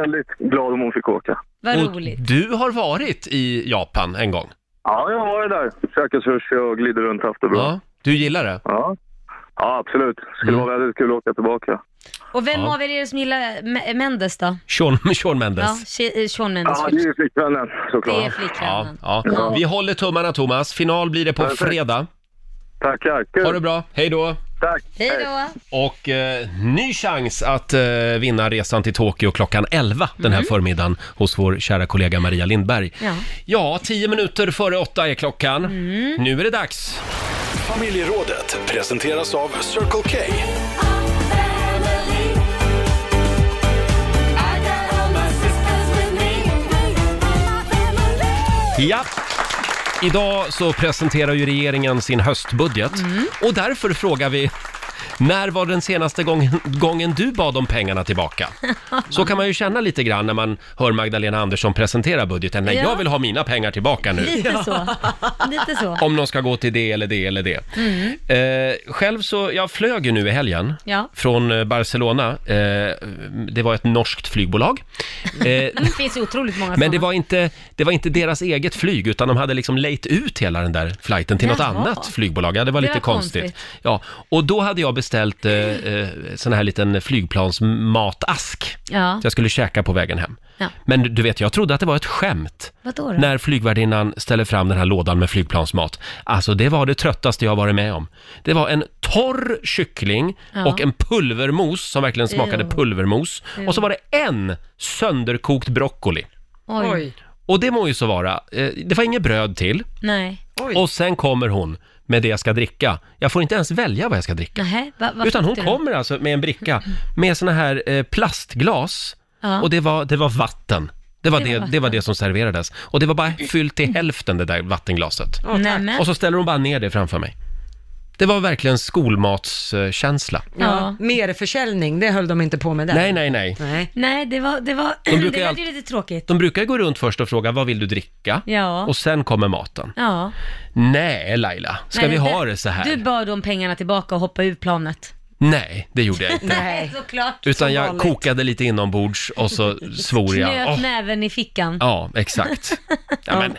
[SPEAKER 12] väldigt glad om hon fick åka.
[SPEAKER 2] Vad
[SPEAKER 1] Och
[SPEAKER 2] roligt.
[SPEAKER 1] Du har varit i Japan en gång.
[SPEAKER 12] Ja, jag har varit där. Käkat sushi och glider runt haft det bra.
[SPEAKER 1] Ja, du gillar det?
[SPEAKER 12] Ja. Ja, absolut. Skulle
[SPEAKER 9] Mm.
[SPEAKER 12] vara väldigt kul att åka tillbaka.
[SPEAKER 2] Och vem
[SPEAKER 1] Ja.
[SPEAKER 2] av er är det som gillar Me- Mendes då?
[SPEAKER 1] Shawn, Shawn Mendes.
[SPEAKER 2] Ja, She- eh, Shawn Mendes.
[SPEAKER 12] Ja, det är ju flickvännen såklart.
[SPEAKER 2] Det är flickvännen.
[SPEAKER 1] Ja.
[SPEAKER 2] Ja.
[SPEAKER 1] Vi håller tummarna Thomas. Final blir det på
[SPEAKER 12] Perfekt.
[SPEAKER 1] fredag.
[SPEAKER 12] Tackar.
[SPEAKER 1] Ha det bra. Hej då.
[SPEAKER 12] Tack.
[SPEAKER 2] Hej då!
[SPEAKER 1] Och eh, ny chans att eh, vinna resan till Tokyo klockan 11 den här förmiddagen hos vår kära kollega Maria Lindberg.
[SPEAKER 2] Mm. Ja.
[SPEAKER 1] Ja, tio minuter före åtta är klockan.
[SPEAKER 2] Mm.
[SPEAKER 1] Nu är det dags.
[SPEAKER 7] Familjerådet presenteras av Circle K.
[SPEAKER 1] Ja. Idag så presenterar ju regeringen sin höstbudget
[SPEAKER 2] Mm.
[SPEAKER 1] och därför frågar vi när var den senaste gången, gången du bad om pengarna tillbaka? Så kan man ju känna lite grann när man hör Magdalena Andersson presentera budgeten. Nej,
[SPEAKER 2] Ja.
[SPEAKER 1] jag vill ha mina pengar tillbaka nu.
[SPEAKER 2] Lite så. Lite så.
[SPEAKER 1] Om de ska gå till det eller det eller det.
[SPEAKER 2] Mm.
[SPEAKER 1] Eh, själv så, jag flög ju nu i helgen
[SPEAKER 2] Ja.
[SPEAKER 1] från eh, Barcelona. Eh, det var ett norskt flygbolag. Eh,
[SPEAKER 2] Men det finns ju otroligt många
[SPEAKER 1] men det
[SPEAKER 2] såna.
[SPEAKER 1] var, inte, det var inte deras eget flyg, utan de hade liksom lejt ut hela den där flighten till något
[SPEAKER 2] Jaha.
[SPEAKER 1] annat flygbolag. Ja, det var
[SPEAKER 2] Det
[SPEAKER 1] lite
[SPEAKER 2] var
[SPEAKER 1] konstigt.
[SPEAKER 2] konstigt.
[SPEAKER 1] Ja, och då hade jag jag beställt eh, eh, sån här liten flygplansmatask.
[SPEAKER 2] Ja.
[SPEAKER 1] Så jag skulle käka på vägen hem.
[SPEAKER 2] ja.
[SPEAKER 1] Men du- du vet, jag trodde att det var ett skämt.
[SPEAKER 2] Vadå då?
[SPEAKER 1] När flygvärdinnan ställer fram den här lådan med flygplansmat. Alltså det var det tröttaste jag varit med om. Det var en torr kyckling
[SPEAKER 2] Ja.
[SPEAKER 1] och en pulvermos som verkligen smakade
[SPEAKER 2] Jo.
[SPEAKER 1] pulvermos.
[SPEAKER 2] Jo.
[SPEAKER 1] Och så var det en sönderkokt broccoli.
[SPEAKER 2] Oj.
[SPEAKER 1] Och det må ju så vara. Eh, Det var inget bröd till.
[SPEAKER 2] Nej.
[SPEAKER 1] Och sen kommer hon med det jag ska dricka. Jag får inte ens välja vad jag ska dricka.
[SPEAKER 2] Nähä, va, vad
[SPEAKER 1] Utan
[SPEAKER 2] fick
[SPEAKER 1] hon
[SPEAKER 2] du då?
[SPEAKER 1] kommer alltså med en bricka med såna här eh, plastglas
[SPEAKER 2] Ja.
[SPEAKER 1] och det var, det var vatten. Det var
[SPEAKER 2] Det var
[SPEAKER 1] det, det var det som serverades. Och det var bara fyllt till hälften det där vattenglaset.
[SPEAKER 2] Nämen.
[SPEAKER 1] Och så ställer hon bara ner det framför mig. Det var verkligen skolmatskänsla.
[SPEAKER 3] Ja. Mer försäljning, det höll de inte på med där.
[SPEAKER 1] Nej, nej, nej.
[SPEAKER 2] Nej, det var, det var,
[SPEAKER 1] De brukar
[SPEAKER 2] det
[SPEAKER 1] ju
[SPEAKER 2] lät
[SPEAKER 1] allt-
[SPEAKER 2] ju lite tråkigt.
[SPEAKER 1] De brukar gå runt först och fråga vad vill du dricka?
[SPEAKER 2] Ja.
[SPEAKER 1] Och sen kommer maten.
[SPEAKER 2] Ja.
[SPEAKER 1] Nej, Laila, ska
[SPEAKER 2] Nej,
[SPEAKER 1] vi ha det så här?
[SPEAKER 2] Du bad om pengarna tillbaka och hoppa ur planet.
[SPEAKER 1] Nej, det gjorde jag inte.
[SPEAKER 2] Nej, såklart.
[SPEAKER 1] Utan
[SPEAKER 2] Som
[SPEAKER 1] jag
[SPEAKER 2] vanligt.
[SPEAKER 1] kokade lite inombords och så svor jag.
[SPEAKER 2] Knöt
[SPEAKER 1] Åh,
[SPEAKER 2] näven i fickan.
[SPEAKER 1] ja, exakt. Ja, men,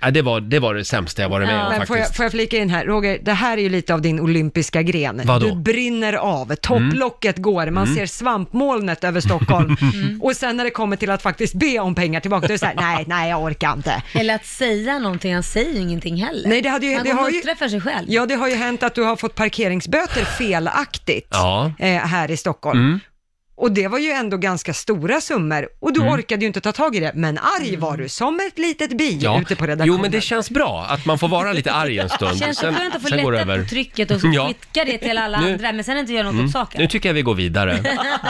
[SPEAKER 1] ja, det, var, det var det sämsta jag varit med om
[SPEAKER 3] Men får jag,
[SPEAKER 1] faktiskt.
[SPEAKER 3] får jag flika in här, Roger, det här är ju lite av din olympiska gren.
[SPEAKER 1] Vadå?
[SPEAKER 3] Du brinner av, topplocket går, man
[SPEAKER 1] Mm.
[SPEAKER 3] ser svampmolnet över Stockholm
[SPEAKER 2] Mm.
[SPEAKER 3] och sen när det kommer till att faktiskt be om pengar tillbaka, då är det så här, nej, nej, jag orkar inte.
[SPEAKER 2] Eller att säga någonting, han säger ju ingenting heller.
[SPEAKER 3] Nej, det hade ju,
[SPEAKER 2] han
[SPEAKER 3] det har ju,
[SPEAKER 2] muttrar för sig själv.
[SPEAKER 3] ja, det har ju hänt att du har fått parkeringsböter felaktigt
[SPEAKER 1] Ja.
[SPEAKER 3] eh, här i Stockholm.
[SPEAKER 1] Mm.
[SPEAKER 3] Och det var ju ändå ganska stora summor och
[SPEAKER 1] Mm.
[SPEAKER 3] du orkade ju inte ta tag i det, men arg var du som ett litet bi
[SPEAKER 1] Ja.
[SPEAKER 3] ute på redaktionen.
[SPEAKER 1] Jo, men det känns bra att man får vara lite arg en stund.
[SPEAKER 2] Känns så skönt att få
[SPEAKER 1] sen går det
[SPEAKER 2] lätta på trycket och så
[SPEAKER 1] Ja.
[SPEAKER 2] skicka det till alla
[SPEAKER 1] Nu-
[SPEAKER 2] andra, men sen inte göra något
[SPEAKER 1] Mm.
[SPEAKER 2] åt saken.
[SPEAKER 1] Nu tycker jag vi går vidare.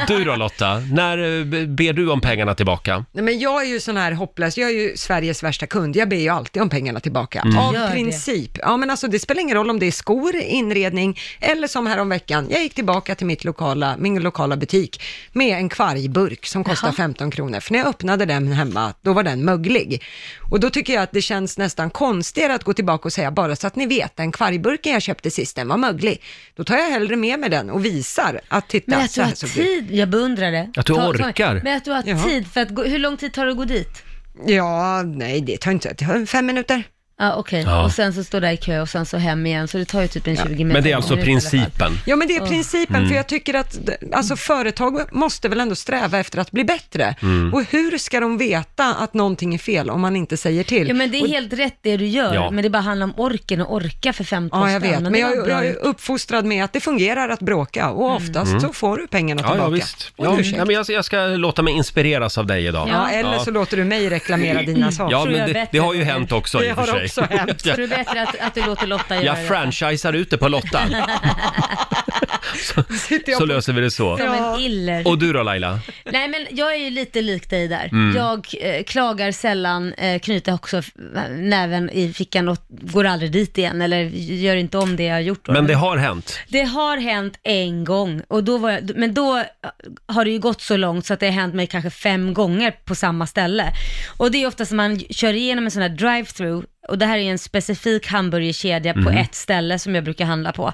[SPEAKER 1] Du då Lotta, när eh, be- ber du om pengarna tillbaka?
[SPEAKER 3] Nej, men jag är ju sån här hopplös, jag är ju Sveriges värsta kund, jag ber ju alltid om pengarna tillbaka.
[SPEAKER 1] Mm.
[SPEAKER 3] Av
[SPEAKER 1] Gör det.
[SPEAKER 3] princip. Ja, men alltså det spelar ingen roll om det är skor, inredning eller som häromveckan, jag gick tillbaka till mitt lokala, min lokala butik med en kvargburk som kostar 15 kronor. För när jag öppnade den hemma, då var den möglig. Och då tycker jag att det känns nästan konstigare att gå tillbaka och säga, bara så att ni vet, den kvargburken jag köpte sist, den var möglig. Då tar jag hellre med mig den och visar att titta,
[SPEAKER 2] Men att
[SPEAKER 3] så
[SPEAKER 2] du
[SPEAKER 3] här
[SPEAKER 2] har
[SPEAKER 3] såg det ut.
[SPEAKER 2] tid, jag beundrar det.
[SPEAKER 3] Att du
[SPEAKER 2] Ta- ta-
[SPEAKER 3] orkar.
[SPEAKER 2] Men att du har
[SPEAKER 3] Ja.
[SPEAKER 2] tid, för att gå, hur lång tid tar det att gå dit?
[SPEAKER 3] Ja, nej det tar inte, det tar fem minuter.
[SPEAKER 2] Ja, okej.
[SPEAKER 1] Ja.
[SPEAKER 2] Och sen så står där i kö och sen så hem igen, så det tar ju typ en 20 minuter.
[SPEAKER 1] Men det är alltså principen.
[SPEAKER 3] Ja, men det är
[SPEAKER 2] Ja.
[SPEAKER 3] principen,
[SPEAKER 1] Mm.
[SPEAKER 3] för jag tycker att alltså, företag måste väl ändå sträva efter att bli bättre.
[SPEAKER 1] Mm.
[SPEAKER 3] Och hur ska de veta att någonting är fel om man inte säger till?
[SPEAKER 2] Ja, men det är
[SPEAKER 3] och,
[SPEAKER 2] helt rätt det du gör,
[SPEAKER 3] Ja.
[SPEAKER 2] men det bara handlar om orken och orka för 15
[SPEAKER 3] Ja, jag
[SPEAKER 2] spänn.
[SPEAKER 3] vet, men
[SPEAKER 2] det
[SPEAKER 3] jag,
[SPEAKER 2] var bra
[SPEAKER 3] jag är
[SPEAKER 2] gjort.
[SPEAKER 3] uppfostrad med att det fungerar att bråka och oftast
[SPEAKER 1] Mm.
[SPEAKER 3] så får du pengarna
[SPEAKER 1] Ja,
[SPEAKER 3] tillbaka.
[SPEAKER 1] ja visst.
[SPEAKER 3] Och
[SPEAKER 1] Ja,
[SPEAKER 3] en ursäkt.
[SPEAKER 1] nej, men jag, jag ska låta mig inspireras av dig idag.
[SPEAKER 3] Ja, eller så låter du mig reklamera dina saker.
[SPEAKER 1] Mm. Ja, men det, det har ju hänt också
[SPEAKER 3] Det
[SPEAKER 1] i och för
[SPEAKER 3] har
[SPEAKER 1] sig.
[SPEAKER 3] också hänt.
[SPEAKER 2] Så det är bättre att, att du låter Lotta göra
[SPEAKER 1] Jag
[SPEAKER 2] det.
[SPEAKER 1] franchisar ut det på Lotta, så löser vi det så.
[SPEAKER 2] Som en iller.
[SPEAKER 1] Och du då Laila?
[SPEAKER 2] Nej men jag är ju lite lik dig där.
[SPEAKER 1] Mm.
[SPEAKER 2] Jag eh, klagar sällan, eh, knyter också f- näven i fickan och går aldrig dit igen eller gör inte om det jag har gjort. då.
[SPEAKER 1] Men det har hänt.
[SPEAKER 2] Det har hänt en gång, och då var jag, men då eh, har det ju gått så långt så att det har hänt mig kanske fem gånger på samma ställe. Och det är ofta som man kör igenom en sån här drive-through, och det här är ju en specifik hamburgerkedja på
[SPEAKER 13] Mm.
[SPEAKER 2] ett ställe som jag brukar handla på,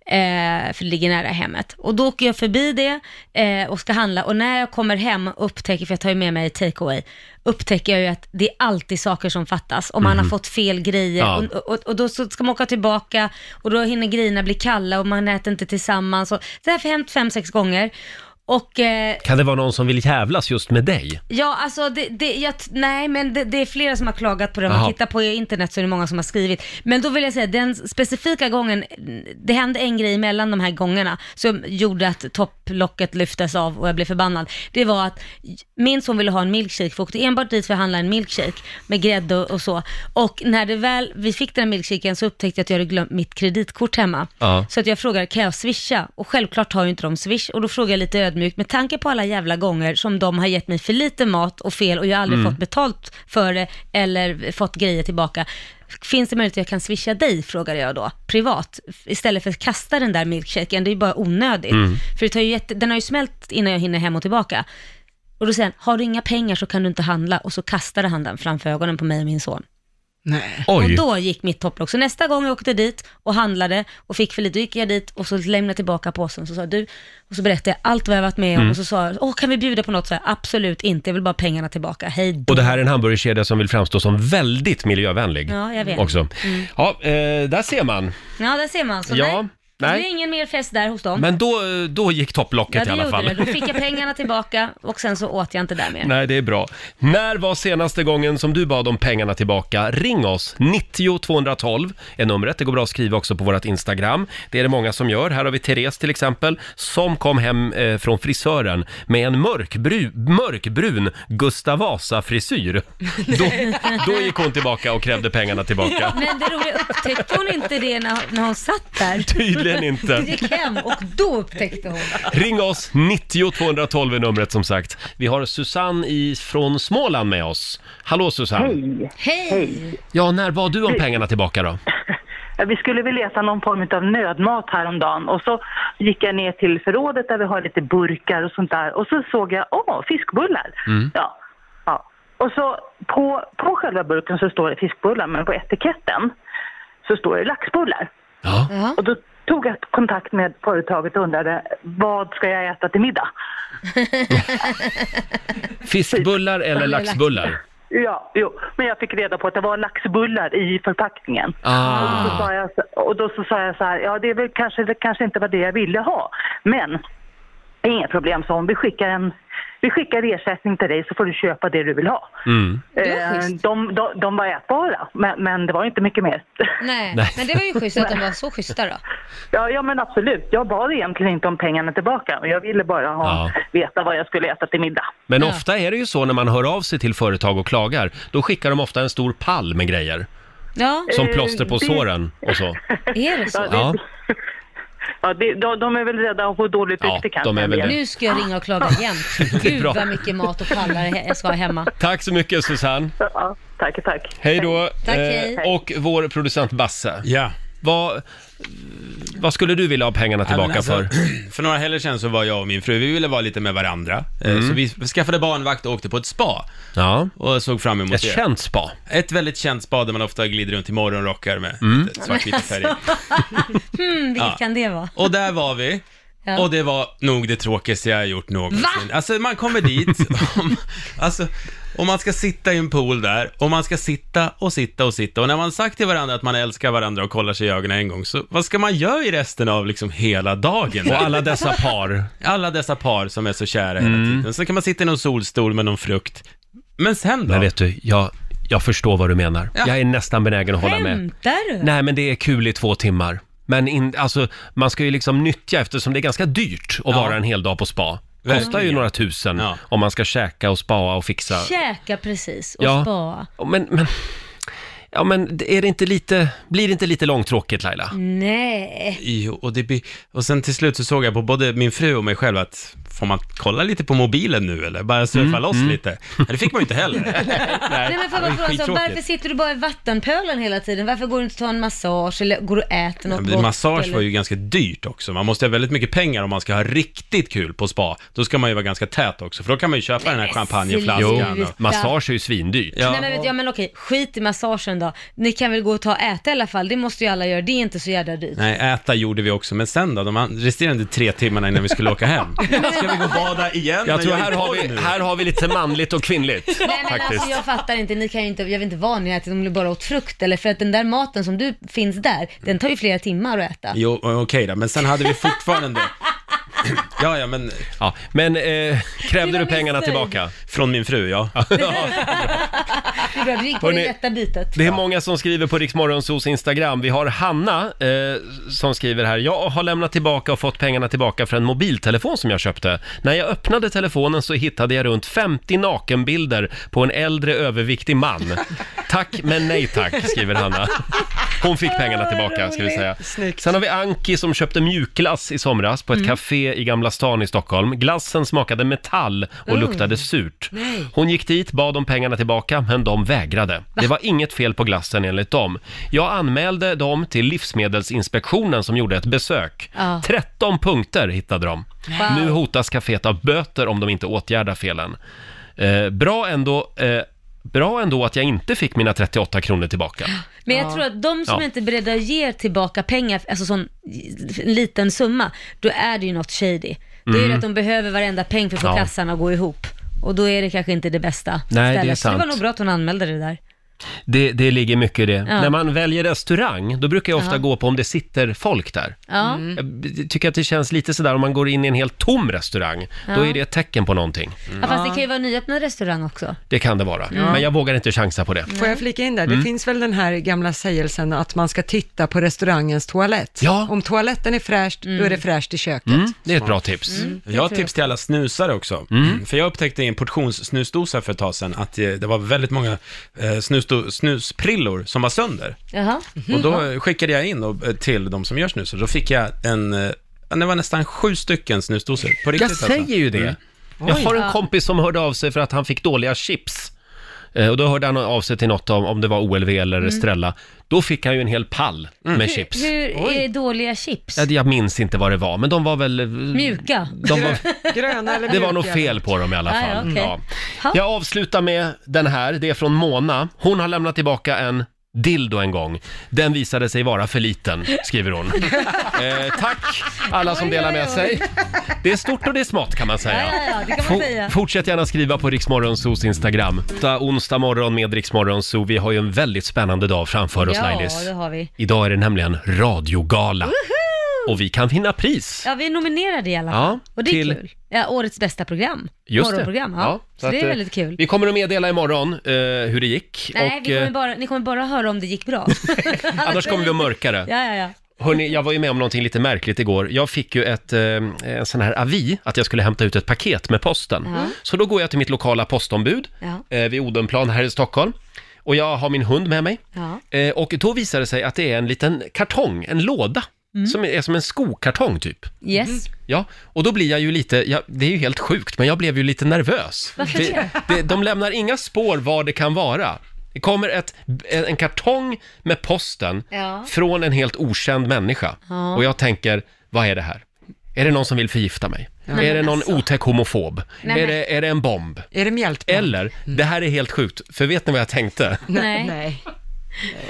[SPEAKER 2] eh, för det ligger nära hemmet. Och då åker jag förbi det eh, och ska handla, och när jag kommer hem och upptäcker, för jag tar ju med mig takeaway, upptäcker jag ju att det är alltid saker som fattas, och man
[SPEAKER 13] Mhm.
[SPEAKER 2] har fått fel grejer,
[SPEAKER 13] Ja.
[SPEAKER 2] och, och, och då så ska man åka tillbaka och då hinner grejerna bli kalla och man äter inte tillsammans. Och, det här har hänt fem, sex gånger. Och eh,
[SPEAKER 1] Kan det vara någon som vill jävlas just med dig?
[SPEAKER 2] ja, alltså det, det, jag, nej men det, det är flera som har klagat på det. Om
[SPEAKER 1] Jaha.
[SPEAKER 2] man tittar på internet så är det många som har skrivit. Men då vill jag säga, den specifika gången, det hände en grej mellan de här gångerna som gjorde att topplocket lyftes av och jag blev förbannad. Det var att min son ville ha en milkshake, för jag åkte enbart dit för att handla en milkshake med grädde och så. Och när det väl, vi fick den här milkshaken så upptäckte jag att jag hade glömt mitt kreditkort hemma.
[SPEAKER 13] Ja.
[SPEAKER 2] Så att jag frågar, kan jag swisha? Och självklart har ju inte de swish. Och då frågar jag lite ödmjukt, med tanke på alla jävla gånger som de har gett mig för lite mat och fel och jag har aldrig
[SPEAKER 13] Mm.
[SPEAKER 2] fått betalt för det eller fått grejer tillbaka. Finns det möjlighet att jag kan swisha dig, frågade jag då, privat, istället för att kasta den där milkshaken, det är ju bara onödigt.
[SPEAKER 13] Mm.
[SPEAKER 2] För det tar ju jätte, den har ju smält innan jag hinner hem och tillbaka. Och då säger han, har du inga pengar så kan du inte handla, och så kastade han den framför ögonen på mig och min son.
[SPEAKER 3] Nej.
[SPEAKER 2] Och då gick mitt topplock. Så nästa gång jag åkte dit och handlade och fick för lite, då gick jag dit och så lämnade jag tillbaka påsen. Så sa du, och så berättade jag allt vad jag varit med om
[SPEAKER 1] Mm.
[SPEAKER 2] och så sa jag, åh kan vi bjuda på något? Så jag, absolut inte, jag vill bara ha pengarna tillbaka, hej då.
[SPEAKER 1] Och det här är en hamburgerkedja som vill framstå som väldigt miljövänlig.
[SPEAKER 2] Ja, jag vet.
[SPEAKER 1] Också.
[SPEAKER 2] Mm.
[SPEAKER 1] Ja, eh, där ser man.
[SPEAKER 2] Ja, där ser man. Så
[SPEAKER 1] ja,
[SPEAKER 2] nej, Det
[SPEAKER 1] Nej.
[SPEAKER 2] blir ingen mer fest där hos dem.
[SPEAKER 1] Men då, eh, då gick
[SPEAKER 2] ja,
[SPEAKER 1] topplocket
[SPEAKER 2] det
[SPEAKER 1] i alla
[SPEAKER 2] gjorde
[SPEAKER 1] fall.
[SPEAKER 2] det. Då fick jag pengarna tillbaka och sen så åt jag inte där mer.
[SPEAKER 1] Nej, det är bra. När var senaste gången som du bad om pengarna tillbaka? Ring oss! 90 212 är numret. Det går bra att skriva också på vårt Instagram. Det är det många som gör. Här har vi Therese till exempel, som kom hem eh, från frisören med en mörkbru, mörkbrun Gustav Vasa-frisyr. Då, då gick hon tillbaka och krävde pengarna tillbaka.
[SPEAKER 2] Men det roliga, upptäckte hon inte det när, när hon satt där?
[SPEAKER 1] Tydligen inte.
[SPEAKER 2] Hon gick hem och då upptäckte hon.
[SPEAKER 1] Ring oss! 90 212 är numret som sagt. Vi har Susanne i, från Småland med oss. Hallå Susanne!
[SPEAKER 2] Hej!
[SPEAKER 1] Ja, när bad du om pengarna tillbaka då?
[SPEAKER 13] Ja, Vi skulle väl leta någon form av nödmat häromdagen och så gick jag ner till förrådet där vi har lite burkar och sånt där och så såg jag, åh, fiskbullar!
[SPEAKER 5] Mm.
[SPEAKER 13] Ja, ja. Och så på, på själva burken så står det fiskbullar men på etiketten så står det laxbullar. Och då tog jag kontakt med företaget och undrade, vad ska jag äta till middag?
[SPEAKER 1] Fiskbullar eller laxbullar?
[SPEAKER 13] Ja, jo. men jag fick reda på att det var laxbullar i förpackningen.
[SPEAKER 1] Ah.
[SPEAKER 13] Och, så sa jag, så- och då så sa jag så här, ja det, är väl kanske, det kanske inte var det jag ville ha, men inga problem sa hon, vi skickar, en, vi skickar ersättning till dig så får du köpa det du vill ha.
[SPEAKER 5] Mm.
[SPEAKER 13] Eh, de, de, de var ätbara, men, men det var inte mycket mer.
[SPEAKER 2] Nej,
[SPEAKER 13] Nej.
[SPEAKER 2] men det var ju schysst att de var så schyssta då.
[SPEAKER 13] Ja, ja men absolut, jag bad egentligen inte om pengarna tillbaka, jag ville bara ha, veta vad jag skulle äta till middag.
[SPEAKER 1] Men ofta är det ju så när man hör av sig till företag och klagar, då skickar de ofta en stor pall med grejer.
[SPEAKER 2] Ja.
[SPEAKER 1] Som plåster på
[SPEAKER 13] Eh, det-
[SPEAKER 1] såren och så.
[SPEAKER 2] Är det så?
[SPEAKER 1] Ja,
[SPEAKER 13] Ja, det, de, de är väl rädda att få dåligt
[SPEAKER 1] Ja,
[SPEAKER 13] rykte
[SPEAKER 1] de
[SPEAKER 13] kanske.
[SPEAKER 1] är väl det.
[SPEAKER 2] Nu ska jag ringa och klaga igen.
[SPEAKER 1] det är
[SPEAKER 2] Gud
[SPEAKER 1] bra.
[SPEAKER 2] vad mycket mat och pallar jag ska ha hemma.
[SPEAKER 1] Tack så mycket Susanne!
[SPEAKER 13] Ja, tack, tack.
[SPEAKER 1] Hej då! Eh,
[SPEAKER 2] Tack, hej.
[SPEAKER 1] och vår producent Basse.
[SPEAKER 6] Ja.
[SPEAKER 1] Vad, vad skulle du vilja ha pengarna tillbaka för?
[SPEAKER 6] För några helger sedan så var jag och min fru, vi ville vara lite med varandra. Eh,
[SPEAKER 1] Mm.
[SPEAKER 6] Så vi skaffade barnvakt och åkte på ett spa.
[SPEAKER 1] Ja.
[SPEAKER 6] Och såg fram emot
[SPEAKER 1] Ett
[SPEAKER 6] det.
[SPEAKER 1] känt spa.
[SPEAKER 6] Ett väldigt känt spa där man ofta glider runt i morgonrockar med
[SPEAKER 1] Mm.
[SPEAKER 6] lite svartvita färger.
[SPEAKER 2] hmm, vilket
[SPEAKER 6] Ja.
[SPEAKER 2] kan det vara?
[SPEAKER 6] Och där var vi.
[SPEAKER 2] Ja.
[SPEAKER 6] Och det var nog det tråkigaste jag har gjort någonsin.
[SPEAKER 2] Va?
[SPEAKER 6] Alltså man kommer dit, om, alltså, och man ska sitta i en pool där, och man ska sitta och sitta och sitta. Och när man sagt till varandra att man älskar varandra och kollar sig i ögonen en gång, så vad ska man göra i resten av liksom hela dagen?
[SPEAKER 1] Och alla Mm. dessa par.
[SPEAKER 6] Alla dessa par som är så kära hela tiden. Sen kan man sitta i någon solstol med någon frukt. Men sen då?
[SPEAKER 1] Men vet du, jag, jag förstår vad du menar.
[SPEAKER 6] Ja.
[SPEAKER 1] Jag är nästan benägen att hålla med.
[SPEAKER 2] Skämtar du?
[SPEAKER 1] Nej, men det är kul i två timmar. Men in, alltså, man ska ju liksom nyttja eftersom det är ganska dyrt att vara en hel dag på spa. Kostar ju
[SPEAKER 2] Verkligen.
[SPEAKER 1] några tusen om man ska käka och spa och fixa.
[SPEAKER 2] Käka precis och
[SPEAKER 1] Ja.
[SPEAKER 2] spa.
[SPEAKER 1] Men, men, ja, men är det inte lite, blir det inte lite långtråkigt Laila?
[SPEAKER 2] Nej.
[SPEAKER 6] Jo, och, det blir- och sen till slut så såg jag på både min fru och mig själv att får man kolla lite på mobilen nu eller? Bara surfa loss lite? Men det fick man ju inte heller.
[SPEAKER 2] Nej men får jag bara
[SPEAKER 6] Det var
[SPEAKER 2] fråga, så,
[SPEAKER 6] skittråkigt.
[SPEAKER 2] varför sitter du bara i vattenpölen hela tiden? Varför går du inte och tar en massage eller går du och äter något
[SPEAKER 6] Men
[SPEAKER 2] gott?
[SPEAKER 6] Massage
[SPEAKER 2] eller-
[SPEAKER 6] var ju ganska dyrt också. Man måste ha väldigt mycket pengar om man ska ha riktigt kul på spa. Då ska man ju vara ganska tät också, för då kan man ju köpa den här champagneflaskan.
[SPEAKER 2] sluta. massage
[SPEAKER 1] är ju svindyrt.
[SPEAKER 2] Nej, men, vet du, ja men okej, skit i massagen då. Ni kan väl gå och ta och äta i alla fall, det måste ju alla göra, det är inte så jävla dyrt.
[SPEAKER 6] Nej, äta gjorde vi också, men sen då? De an- resterande tre timmarna innan vi skulle åka hem. Ska vi gå och bada igen?
[SPEAKER 1] Jag
[SPEAKER 6] Men
[SPEAKER 1] tror
[SPEAKER 6] är
[SPEAKER 1] här
[SPEAKER 6] inte
[SPEAKER 1] har,
[SPEAKER 6] nöjd
[SPEAKER 1] vi,
[SPEAKER 6] nu.
[SPEAKER 1] här har vi lite manligt och kvinnligt
[SPEAKER 2] Nej men
[SPEAKER 1] faktiskt.
[SPEAKER 2] alltså jag fattar inte, ni kan ju inte, jag vet inte vad ni äter, om ni bara åt frukt eller för att den där maten som du finns där, den tar ju flera timmar att äta.
[SPEAKER 6] Jo, eh, okej då, men sen hade vi fortfarande... ja, ja, men...
[SPEAKER 1] Ja, men eh, krävde
[SPEAKER 2] var
[SPEAKER 1] du pengarna
[SPEAKER 2] missnöjd.
[SPEAKER 1] tillbaka?
[SPEAKER 6] Från min fru, ja.
[SPEAKER 2] Det är bra, du gick på det
[SPEAKER 1] Hörrni,
[SPEAKER 2] rätta bitet.
[SPEAKER 1] Det är många som skriver på Riksmorgonsos Instagram. Vi har Hanna eh, som skriver här. Jag har lämnat tillbaka och fått pengarna tillbaka för en mobiltelefon som jag köpte. När jag öppnade telefonen så hittade jag runt 50 nakenbilder på en äldre överviktig man. Tack men nej tack, skriver Hanna. Hon fick pengarna tillbaka ska vi säga. Sen har vi Anki som köpte mjukglass i somras på ett
[SPEAKER 5] Mm.
[SPEAKER 1] café i Gamla stan i Stockholm. Glassen smakade metall och
[SPEAKER 5] Mm.
[SPEAKER 1] luktade surt.
[SPEAKER 5] Nej.
[SPEAKER 1] Hon gick dit, bad om pengarna tillbaka, men de vägrade. Det var inget fel på glassen enligt dem. Jag anmälde dem till Livsmedelsinspektionen som gjorde ett besök.
[SPEAKER 5] Ja.
[SPEAKER 1] 13 punkter hittade de.
[SPEAKER 5] Wow.
[SPEAKER 1] Nu hotas kaféet av böter om de inte åtgärdar felen. Eh, bra ändå eh, Bra ändå att jag inte fick mina 38 kronor tillbaka.
[SPEAKER 2] Men jag tror att de som
[SPEAKER 1] Ja.
[SPEAKER 2] inte är beredda att ge tillbaka pengar, alltså sån en liten summa, då är det ju något shady. Då är det
[SPEAKER 1] Mm.
[SPEAKER 2] att de behöver varenda peng för att få
[SPEAKER 1] Ja.
[SPEAKER 2] kassan att gå ihop. Och då är det kanske inte det bästa
[SPEAKER 1] Nej, det är
[SPEAKER 2] Så det var
[SPEAKER 1] sant.
[SPEAKER 2] nog bra att hon anmälde det där.
[SPEAKER 1] Det, det ligger mycket i det.
[SPEAKER 2] Ja.
[SPEAKER 1] När man väljer restaurang, då brukar jag ofta
[SPEAKER 2] Ja. Mm.
[SPEAKER 1] gå på om det sitter folk där.
[SPEAKER 2] Ja.
[SPEAKER 1] Jag b- tycker att det känns lite sådär om man går in i en helt tom restaurang, då
[SPEAKER 2] Ja.
[SPEAKER 1] är det ett tecken på någonting.
[SPEAKER 2] Mm. Ja, fast det kan ju vara en nyöppnad restaurang också.
[SPEAKER 1] Det kan det vara,
[SPEAKER 2] Ja.
[SPEAKER 1] men jag vågar inte chansa på det.
[SPEAKER 3] Får jag flika in där?
[SPEAKER 1] Mm.
[SPEAKER 3] Det finns väl den här gamla sägelsen att man ska titta på restaurangens toalett. Om toaletten är fräscht, då är det fräscht i köket.
[SPEAKER 6] Mm,
[SPEAKER 1] det är ett bra tips.
[SPEAKER 3] Mm, det
[SPEAKER 6] jag har
[SPEAKER 3] tror jag.
[SPEAKER 6] tips till alla snusare också.
[SPEAKER 1] Mm.
[SPEAKER 6] För jag upptäckte i en portionssnusdosa för ett tag sedan att eh, det var väldigt många eh, snusdo- snusprillor som var sönder.
[SPEAKER 2] Jaha.
[SPEAKER 1] Mm.
[SPEAKER 6] Och då eh, skickade jag in och, eh, till de som gör snus och då fick jag en, eh, det var nästan sju stycken snusdosor. På riktigt alltså.
[SPEAKER 1] Jag säger ju det. Jag har en kompis som hörde av sig för att han fick dåliga chips. Eh, Och då hörde han av sig till något om, om det var OLV eller
[SPEAKER 2] Mm.
[SPEAKER 1] Estrella. Då fick han ju en hel pall med
[SPEAKER 2] hur,
[SPEAKER 1] chips.
[SPEAKER 2] Hur är dåliga chips?
[SPEAKER 1] Ja, det- Jag minns inte vad det var, men de var väl... eh,
[SPEAKER 2] Mjuka?
[SPEAKER 1] De var,
[SPEAKER 3] Gröna eller
[SPEAKER 1] Mm. det var nog fel på dem i alla
[SPEAKER 2] Ah, ja,
[SPEAKER 1] fall.
[SPEAKER 2] okej.
[SPEAKER 1] ja.
[SPEAKER 2] Ha.
[SPEAKER 1] Jag avslutar med den här, det är från Mona. Hon har lämnat tillbaka en dildo en gång. Den visade sig vara för liten, skriver hon. Eh, tack alla som delar med sig. Det är stort och det är smått kan man säga.
[SPEAKER 5] Ja, ja, ja, det kan man
[SPEAKER 1] Fo-
[SPEAKER 5] säga.
[SPEAKER 1] Fortsätt gärna skriva på Riksmorgonsos Instagram. Ta onsdag morgon med Riksmorgonso. Vi har ju en väldigt spännande dag framför oss
[SPEAKER 2] ja,
[SPEAKER 1] Lailis.
[SPEAKER 2] det har vi.
[SPEAKER 1] Idag är det nämligen radiogala. Och vi kan vinna pris.
[SPEAKER 2] Ja, vi är nominerade i alla fall.
[SPEAKER 1] Ja,
[SPEAKER 2] och det är
[SPEAKER 1] till-
[SPEAKER 2] kul. Ja, årets bästa program.
[SPEAKER 1] Just det.
[SPEAKER 2] Morgonprogram, ja. Så,
[SPEAKER 1] att,
[SPEAKER 2] det är
[SPEAKER 1] eh,
[SPEAKER 2] väldigt kul.
[SPEAKER 1] Vi kommer att meddela imorgon eh, hur det gick.
[SPEAKER 2] Nej,
[SPEAKER 1] och,
[SPEAKER 2] vi kommer
[SPEAKER 1] eh,
[SPEAKER 2] bara, ni kommer bara höra om det gick bra.
[SPEAKER 1] Annars kommer vi att mörka det.
[SPEAKER 2] Ja, ja, ja.
[SPEAKER 1] Hörrni, jag var ju med om någonting lite märkligt igår. Jag fick ju ett, eh, en sån här avi att jag skulle hämta ut ett paket med posten.
[SPEAKER 5] Ja.
[SPEAKER 1] Så då går jag till mitt lokala postombud
[SPEAKER 5] Ja.
[SPEAKER 1] eh, vid Odenplan här i Stockholm. Och jag har min hund med mig.
[SPEAKER 5] Ja.
[SPEAKER 1] Eh, och då visar det sig att det är en liten kartong, en låda.
[SPEAKER 2] Mm.
[SPEAKER 1] Som är som en skokartong typ.
[SPEAKER 2] Yes.
[SPEAKER 1] Ja, och då blir jag ju lite, ja, det är ju helt sjukt, men jag blev ju lite nervös.
[SPEAKER 2] Varför
[SPEAKER 1] det? Det, de lämnar inga spår vad det kan vara. Det kommer ett, en kartong med posten
[SPEAKER 2] Ja.
[SPEAKER 1] från en helt okänd människa.
[SPEAKER 2] Ja.
[SPEAKER 1] Och jag tänker, vad är det här? Är det någon som vill förgifta mig?
[SPEAKER 2] Ja. Nej,
[SPEAKER 1] Är det
[SPEAKER 2] men
[SPEAKER 1] någon
[SPEAKER 2] alltså.
[SPEAKER 1] otäck homofob?
[SPEAKER 2] Nej,
[SPEAKER 1] är,
[SPEAKER 2] men-
[SPEAKER 1] det, är det en bomb?
[SPEAKER 3] Är det mjältbomb?
[SPEAKER 1] Eller, det här är helt sjukt, för vet ni vad jag tänkte?
[SPEAKER 2] Nej.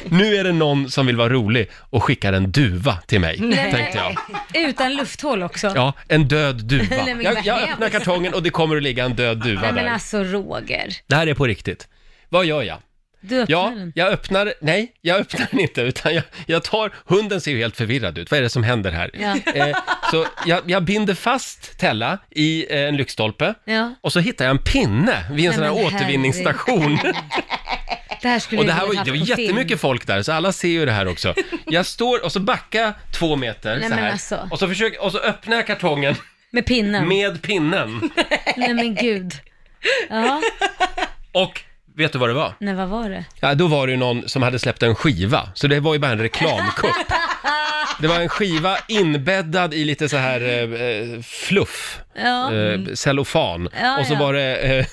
[SPEAKER 1] Nu är det någon som vill vara rolig och skickar en duva till mig,
[SPEAKER 2] Nej.
[SPEAKER 1] tänkte jag.
[SPEAKER 2] Utan lufthål också.
[SPEAKER 1] Ja, en död duva.
[SPEAKER 2] Nej, men
[SPEAKER 1] jag,
[SPEAKER 2] vad
[SPEAKER 1] jag
[SPEAKER 2] hemskt.
[SPEAKER 1] öppnar kartongen och det kommer att ligga en död duva
[SPEAKER 2] Nej, men
[SPEAKER 1] där.
[SPEAKER 2] alltså Roger.
[SPEAKER 1] Det här är på riktigt. Vad gör jag?
[SPEAKER 2] Du öppnar
[SPEAKER 1] ja,
[SPEAKER 2] den.
[SPEAKER 1] jag öppnar, nej, jag öppnar den inte, utan jag, jag tar, hunden ser ju helt förvirrad ut, vad är det som händer här?
[SPEAKER 5] Ja.
[SPEAKER 1] Eh, så jag, jag binder fast Tella i eh, en lyktstolpe,
[SPEAKER 2] Ja.
[SPEAKER 1] och så hittar jag en pinne vid en
[SPEAKER 2] Nej,
[SPEAKER 1] sån här
[SPEAKER 2] men
[SPEAKER 1] återvinningsstation.
[SPEAKER 2] Det här skulle
[SPEAKER 1] Och
[SPEAKER 2] vi
[SPEAKER 1] det här
[SPEAKER 2] ha
[SPEAKER 1] var, ju-
[SPEAKER 2] haft
[SPEAKER 1] det var
[SPEAKER 2] på film.
[SPEAKER 1] jättemycket folk där, så alla ser ju det här också. Jag står, och så backar jag två meter
[SPEAKER 2] Nej,
[SPEAKER 1] så
[SPEAKER 2] men
[SPEAKER 1] här,
[SPEAKER 2] alltså.
[SPEAKER 1] och, så försöker, och så öppnar jag kartongen
[SPEAKER 2] Med pinnen.
[SPEAKER 1] med pinnen.
[SPEAKER 2] Nej men gud. Ja,
[SPEAKER 1] Och vet du vad det var?
[SPEAKER 2] nej vad var det?
[SPEAKER 1] Ja, då var det ju någon som hade släppt en skiva, så det var ju bara en reklamkupp. Det var en skiva inbäddad i lite så här eh, eh, fluff,
[SPEAKER 5] Ja. Mm.
[SPEAKER 1] eh, cellofan.
[SPEAKER 5] Ja,
[SPEAKER 1] och, så
[SPEAKER 5] ja.
[SPEAKER 1] var det, eh,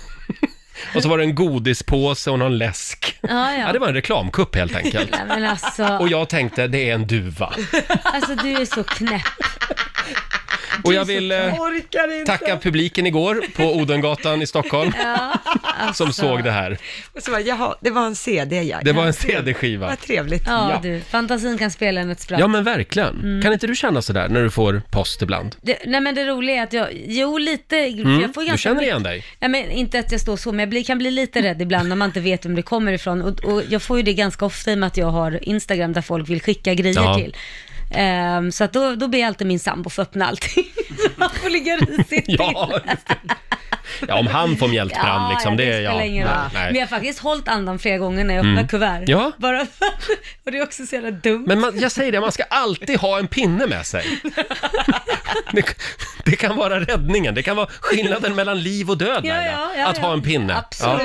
[SPEAKER 1] och så var det en godispåse och någon läsk.
[SPEAKER 2] Ja, ja.
[SPEAKER 1] Ja, det var en reklamkupp helt enkelt.
[SPEAKER 2] Nej men alltså,
[SPEAKER 1] Och jag tänkte, det är en duva.
[SPEAKER 2] alltså du är så knäpp.
[SPEAKER 1] Och jag vill eh,
[SPEAKER 3] orkar inte.
[SPEAKER 1] tacka publiken igår på Odengatan i Stockholm
[SPEAKER 2] Ja,
[SPEAKER 5] alltså.
[SPEAKER 1] som såg det här.
[SPEAKER 3] Och så bara, jaha, det var en CD ja.
[SPEAKER 1] Det var en
[SPEAKER 3] Vad
[SPEAKER 1] CD-skiva.
[SPEAKER 3] trevligt.
[SPEAKER 2] Ja,
[SPEAKER 1] Ja.
[SPEAKER 2] du, fantasin kan spela en ett spratt.
[SPEAKER 1] Ja men verkligen.
[SPEAKER 5] Mm.
[SPEAKER 1] Kan inte du känna sådär när du får post ibland?
[SPEAKER 2] det, nej men det roliga är att jag, jo lite, för
[SPEAKER 1] Mm,
[SPEAKER 2] jag får
[SPEAKER 1] du
[SPEAKER 2] ganska
[SPEAKER 1] känner
[SPEAKER 2] mycket-
[SPEAKER 1] igen dig?
[SPEAKER 2] Nej men inte att jag står så, men jag blir, kan bli lite rädd ibland när man inte vet vem det kommer ifrån. Och, och jag får ju det ganska ofta i och med att jag har Instagram där folk vill skicka grejer
[SPEAKER 5] Ja.
[SPEAKER 2] till. Ehm, så att då, då ber jag alltid min sambo få öppna allting. så man får ligga risigt till.
[SPEAKER 1] Ja, just det. ja, om han får mjältbrand liksom, det är
[SPEAKER 2] spelar
[SPEAKER 1] jag.
[SPEAKER 2] ingen roll. Men jag har faktiskt hållit andan flera gånger när jag öppnar
[SPEAKER 1] Mm.
[SPEAKER 2] kuvert.
[SPEAKER 1] Ja.
[SPEAKER 2] Bara och det är också så jävla dumt.
[SPEAKER 1] Men man, jag säger det, man ska alltid ha en pinne med sig. Det, det kan vara räddningen, det kan vara skillnaden mellan liv och död,
[SPEAKER 5] Ja,
[SPEAKER 1] Laila,
[SPEAKER 5] ja, ja,
[SPEAKER 1] att
[SPEAKER 5] ja.
[SPEAKER 1] ha en pinne.
[SPEAKER 5] Absolut.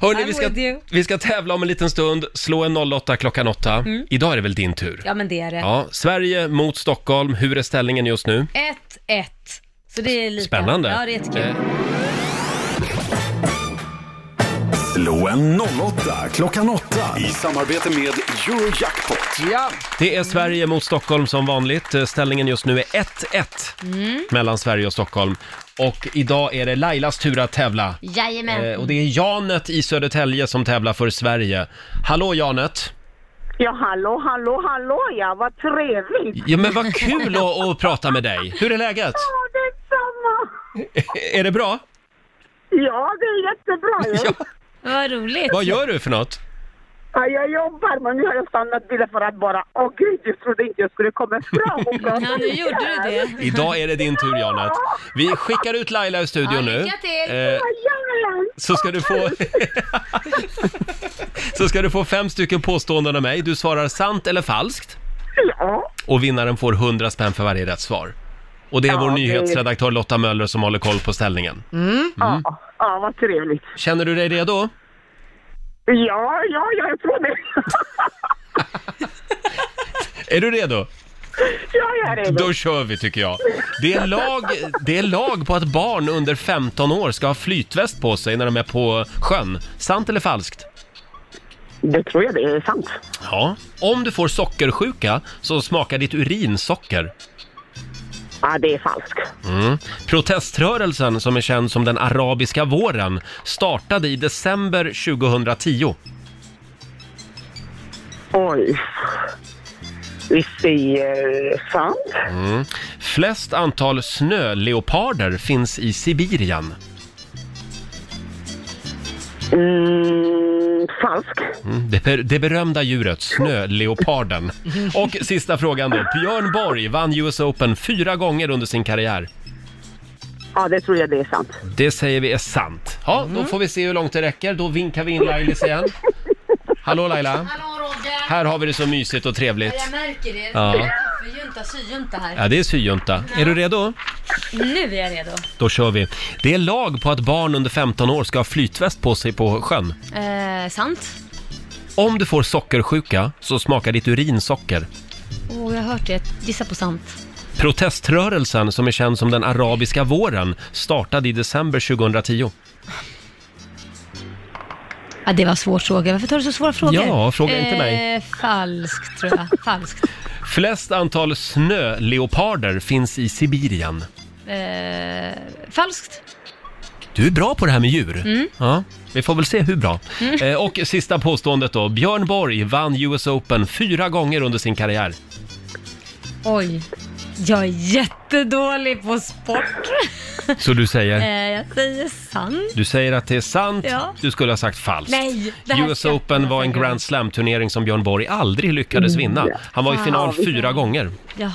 [SPEAKER 1] Hörrni,
[SPEAKER 5] I'm
[SPEAKER 1] vi ska,
[SPEAKER 5] with you.
[SPEAKER 1] vi ska tävla om en liten stund, slå en 08 klockan 8.
[SPEAKER 2] Mm.
[SPEAKER 1] Idag är det väl din tur?
[SPEAKER 2] Ja men det är det.
[SPEAKER 1] Ja, Sverige mot Stockholm, hur är ställningen just nu?
[SPEAKER 2] 1-1. Så det är lite...
[SPEAKER 1] Spännande.
[SPEAKER 2] Ja, det är jättekul.
[SPEAKER 1] Eh,
[SPEAKER 4] Slå en 08 klockan 8
[SPEAKER 7] I samarbete med Eurojackpot.
[SPEAKER 4] Ja.
[SPEAKER 1] Det är Sverige mot Stockholm som vanligt. Eh, Ställningen just nu är 1-1
[SPEAKER 2] Mm.
[SPEAKER 1] mellan Sverige och Stockholm. Och idag är det Lailas tur att tävla.
[SPEAKER 2] Jajamän.
[SPEAKER 1] Eh, och det är Janet i Södertälje som tävlar för Sverige. Hallå Janet!
[SPEAKER 14] Ja, hallå, hallå, hallå, ja, vad trevligt.
[SPEAKER 1] Ja men vad kul att, att prata med dig! Hur är läget?
[SPEAKER 14] Ja, detsamma.
[SPEAKER 1] Är det bra?
[SPEAKER 14] Ja, det är jättebra ju.
[SPEAKER 1] Ja.
[SPEAKER 2] Vad roligt.
[SPEAKER 1] Vad gör du för något?
[SPEAKER 14] Ja, jag jobbar, men nu har jag stannat bilen för att bara, åh gud, jag trodde inte jag skulle komma fram och prata
[SPEAKER 2] Ja, nu
[SPEAKER 14] om
[SPEAKER 2] gjorde du
[SPEAKER 14] här."
[SPEAKER 2] det.
[SPEAKER 1] Idag är det din tur, Janet. Vi skickar ut Laila ur studion nu.
[SPEAKER 2] lycka till!
[SPEAKER 1] Eh, så ska du få... så ska du få fem stycken påståenden av mig. Du svarar sant eller falskt.
[SPEAKER 14] Ja.
[SPEAKER 1] Och vinnaren får 100 spänn för varje rätt svar. Och det är
[SPEAKER 14] Ja,
[SPEAKER 1] vår
[SPEAKER 14] det-
[SPEAKER 1] nyhetsredaktör Lotta Möller som håller koll på ställningen.
[SPEAKER 14] Mm. Ja, ja, vad trevligt.
[SPEAKER 1] Känner du dig redo?
[SPEAKER 14] Ja, ja, jag tror det.
[SPEAKER 1] Är du redo?
[SPEAKER 14] Ja, jag är redo.
[SPEAKER 1] Då kör vi tycker jag. Det är, lag, det är lag på att barn under 15 år ska ha flytväst på sig när de är på sjön. Sant eller falskt?
[SPEAKER 14] Det tror jag det är sant.
[SPEAKER 1] Ja. Om du får sockersjuka så smakar ditt urin socker.
[SPEAKER 14] Ja, det är falskt.
[SPEAKER 1] Mm. Proteströrelsen som är känd som den arabiska våren startade i december 2010.
[SPEAKER 14] Oj. Vi säger sant.
[SPEAKER 1] Mm. Flest antal snöleoparder finns i Sibirien.
[SPEAKER 14] Mm, falskt.
[SPEAKER 1] Mm, Det, ber- det berömda djuret, snöleoparden. Och sista frågan då. Björn Borg vann US Open fyra gånger under sin karriär.
[SPEAKER 14] Ja, det tror jag det är sant.
[SPEAKER 1] Det säger vi är sant. Ja, då får vi se hur långt det räcker. Då vinkar vi in Lailis igen. Hallå Laila!
[SPEAKER 2] Hallå Roger!
[SPEAKER 1] Här har vi det så mysigt och
[SPEAKER 2] Ja,
[SPEAKER 1] trevligt.
[SPEAKER 2] jag märker det.
[SPEAKER 1] Ja.
[SPEAKER 2] Vi är junta syjunta här.
[SPEAKER 1] Ja, det är syjunta. Är du redo?
[SPEAKER 2] Nu är jag redo.
[SPEAKER 1] Då kör vi. Det är lag på att barn under 15 år ska ha flytväst på sig på sjön.
[SPEAKER 2] Eh, sant.
[SPEAKER 1] Om du får sockersjuka så smakar ditt urin socker.
[SPEAKER 2] Åh, jag har hört det. Gissa på sant.
[SPEAKER 1] Proteströrelsen som är känd som den arabiska våren startade i december 2010.
[SPEAKER 2] Ja, det var svårt fråga. Varför tar du så svåra frågor?
[SPEAKER 1] Ja, fråga inte mig.
[SPEAKER 2] Eh, falskt tror jag. Falskt.
[SPEAKER 1] Flest antal snöleoparder finns i Sibirien.
[SPEAKER 2] Eh, falskt.
[SPEAKER 1] Du är bra på det här med djur.
[SPEAKER 2] Mm.
[SPEAKER 1] Ja, vi får väl se hur bra.
[SPEAKER 2] Mm.
[SPEAKER 1] Eh, och sista påståendet då. Björn Borg vann US Open fyra gånger under sin karriär.
[SPEAKER 2] Oj. Jag är jättedålig på sport.
[SPEAKER 1] Så du säger?
[SPEAKER 2] Eh, jag säger sant.
[SPEAKER 1] Du säger att det är sant.
[SPEAKER 2] Ja.
[SPEAKER 1] Du skulle ha sagt falskt.
[SPEAKER 2] Nej, det här
[SPEAKER 1] US
[SPEAKER 2] ska jag
[SPEAKER 1] Open var en Grand Slam-turnering som Björn Borg aldrig
[SPEAKER 2] Mm.
[SPEAKER 1] lyckades vinna. Han var i
[SPEAKER 3] Fan.
[SPEAKER 1] final fyra gånger.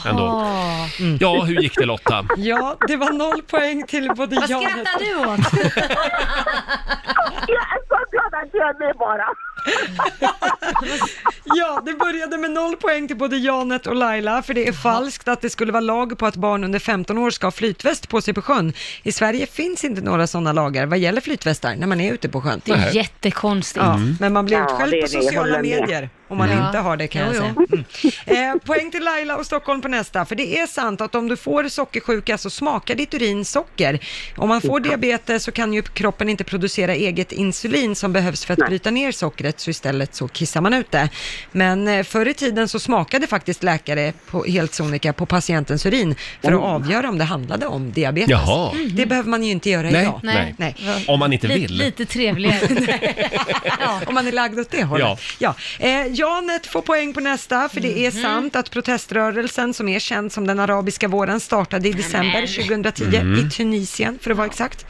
[SPEAKER 1] Ändå.
[SPEAKER 3] Jaha.
[SPEAKER 1] Ja, hur gick det Lotta?
[SPEAKER 3] Ja, det var noll poäng till både
[SPEAKER 2] Vad
[SPEAKER 3] jag och...
[SPEAKER 2] skrattar du åt?
[SPEAKER 14] Jag är så glad att jag är med bara.
[SPEAKER 3] Ja, det började med noll poäng till både Janet och Laila, för det är falskt att det skulle vara lag på att barn under 15 år ska ha flytväst på sig på sjön. I Sverige finns inte några sådana lagar vad gäller flytvästar när man är ute på sjön.
[SPEAKER 2] Det är jättekonstigt.
[SPEAKER 3] Ja, men man blir
[SPEAKER 2] Ja,
[SPEAKER 3] utskälld
[SPEAKER 2] det är
[SPEAKER 3] på
[SPEAKER 2] det, jag håller
[SPEAKER 3] sociala
[SPEAKER 2] med.
[SPEAKER 3] medier om man
[SPEAKER 2] Ja.
[SPEAKER 3] inte har det kan
[SPEAKER 2] Jo,
[SPEAKER 3] jag säga. Mm. Eh, poäng till Laila och Stockholm på nästa, för det är sant att om du får sockersjuka så smakar ditt urin socker. Om man får diabetes så kan ju kroppen inte producera eget insulin som behövs för att bryta ner sockret, så istället så kissar man ut det. Men eh, förr i tiden så smakade faktiskt läkare på, helt sonika på patientens urin för att
[SPEAKER 1] Oh.
[SPEAKER 3] avgöra om det handlade om diabetes.
[SPEAKER 1] Jaha.
[SPEAKER 3] Det behöver man ju inte göra
[SPEAKER 1] Nej,
[SPEAKER 3] idag.
[SPEAKER 1] nej. Om man inte Lite- vill.
[SPEAKER 2] Lite trevligare.
[SPEAKER 3] ja, om man är lagd åt det hållet. Ja. Eh, Janet får poäng på nästa, för det är sant att proteströrelsen som är känd som den arabiska våren startade i december 2010
[SPEAKER 5] Mm.
[SPEAKER 3] i Tunisien, för att vara exakt.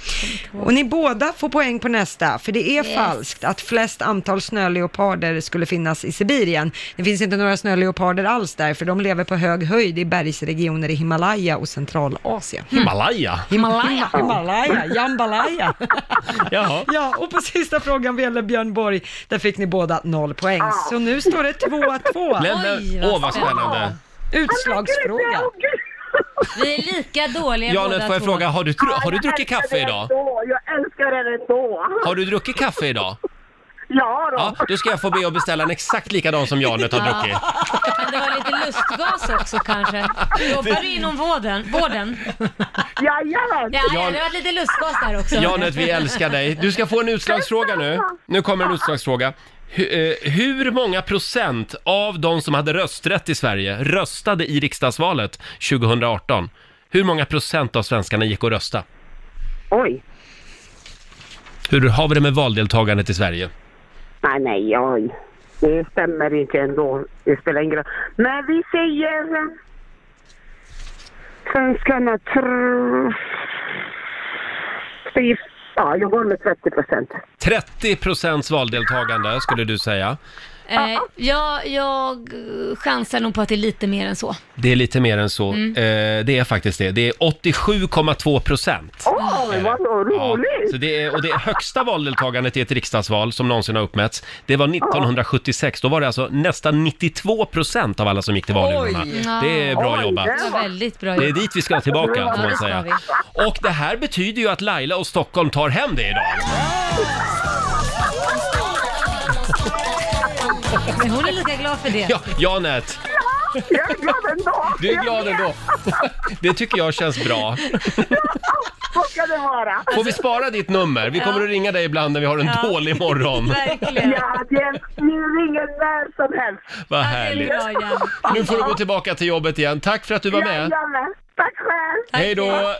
[SPEAKER 3] Och ni båda får poäng på nästa, för det är
[SPEAKER 5] Yes.
[SPEAKER 3] falskt att flest antal snöleoparder skulle finnas i Sibirien. Det finns inte några snöleoparder alls där, för de lever på hög höjd i bergsregioner i Himalaya och Centralasien.
[SPEAKER 1] Himalaya?
[SPEAKER 3] Himalaya. Himalaya, jambalaya.
[SPEAKER 1] Jaha.
[SPEAKER 3] Ja, och på sista frågan vad gäller Björn Borg, där fick ni båda noll poäng. Så nu står det 2-2.
[SPEAKER 1] Nej, men- Oj, vad åh, vad spännande. spännande.
[SPEAKER 3] Utslagsfråga.
[SPEAKER 2] Vi är lika dåliga
[SPEAKER 1] Janet,
[SPEAKER 2] båda
[SPEAKER 1] får jag
[SPEAKER 2] två.
[SPEAKER 1] fråga, har du, dru- har du druckit kaffe idag?
[SPEAKER 14] Jag älskar det ändå.
[SPEAKER 1] Har du druckit kaffe idag?
[SPEAKER 14] Ja, då.
[SPEAKER 1] Ja, då ska jag få be att beställa en exakt likadan som Janet har druckit.
[SPEAKER 2] Kan det vara lite lustgas också kanske? Jobbar du inom vården? vården?
[SPEAKER 14] Jajamän!
[SPEAKER 2] Ja, ja, det har varit lite lustgas där också.
[SPEAKER 1] Janet, vi älskar dig. Du ska få en utslagsfråga nu. Nu kommer en utslagsfråga. Hu- eh, Hur många procent av de som hade rösträtt i Sverige röstade i riksdagsvalet 2018? Hur många procent av svenskarna gick och rösta?
[SPEAKER 14] Oj.
[SPEAKER 1] Hur har vi det med valdeltagandet i Sverige?
[SPEAKER 14] Nej, nej, oj. Det stämmer inte ändå. Det spelar ingen roll. Men vi säger... eh, Svenskarna tror... säger- Ja, jag går med 30 procent.
[SPEAKER 1] 30 procents valdeltagande skulle du säga.
[SPEAKER 2] Eh, jag, jag eh, chansar nog på att det är lite mer än så.
[SPEAKER 1] Det är lite mer än så.
[SPEAKER 2] Mm.
[SPEAKER 1] Eh, det är faktiskt det. Det är 87,2 procent.
[SPEAKER 14] Åh, vad roligt!
[SPEAKER 1] Så det är, och det är högsta valdeltagandet i ett riksdagsval som någonsin har uppmätts. Det var 1976. Då var det alltså nästan 92 procent av alla som gick till valurnorna. Det är bra jobbat.
[SPEAKER 2] Det var väldigt bra
[SPEAKER 1] Det är
[SPEAKER 2] jobbat.
[SPEAKER 1] dit vi ska tillbaka, får
[SPEAKER 2] Ja,
[SPEAKER 1] man
[SPEAKER 2] det ska
[SPEAKER 1] säga.
[SPEAKER 2] vi.
[SPEAKER 1] Och det här betyder ju att Laila och Stockholm tar hem det idag.
[SPEAKER 2] Men hon är lika glad för det.
[SPEAKER 1] Ja, Janet,
[SPEAKER 14] Jag är glad ändå!
[SPEAKER 1] du är glad ändå. Det tycker jag känns bra.
[SPEAKER 14] Så ska det vara!
[SPEAKER 1] Får vi spara ditt nummer? Vi kommer att ringa dig ibland när vi har en
[SPEAKER 14] Ja.
[SPEAKER 1] dålig morgon.
[SPEAKER 14] Ja, det är, ni ringer när som helst.
[SPEAKER 1] Vad härligt. Nu får du gå tillbaka till jobbet igen. Tack för att du var med.
[SPEAKER 14] Jajamän. Tack själv!
[SPEAKER 1] Hej då!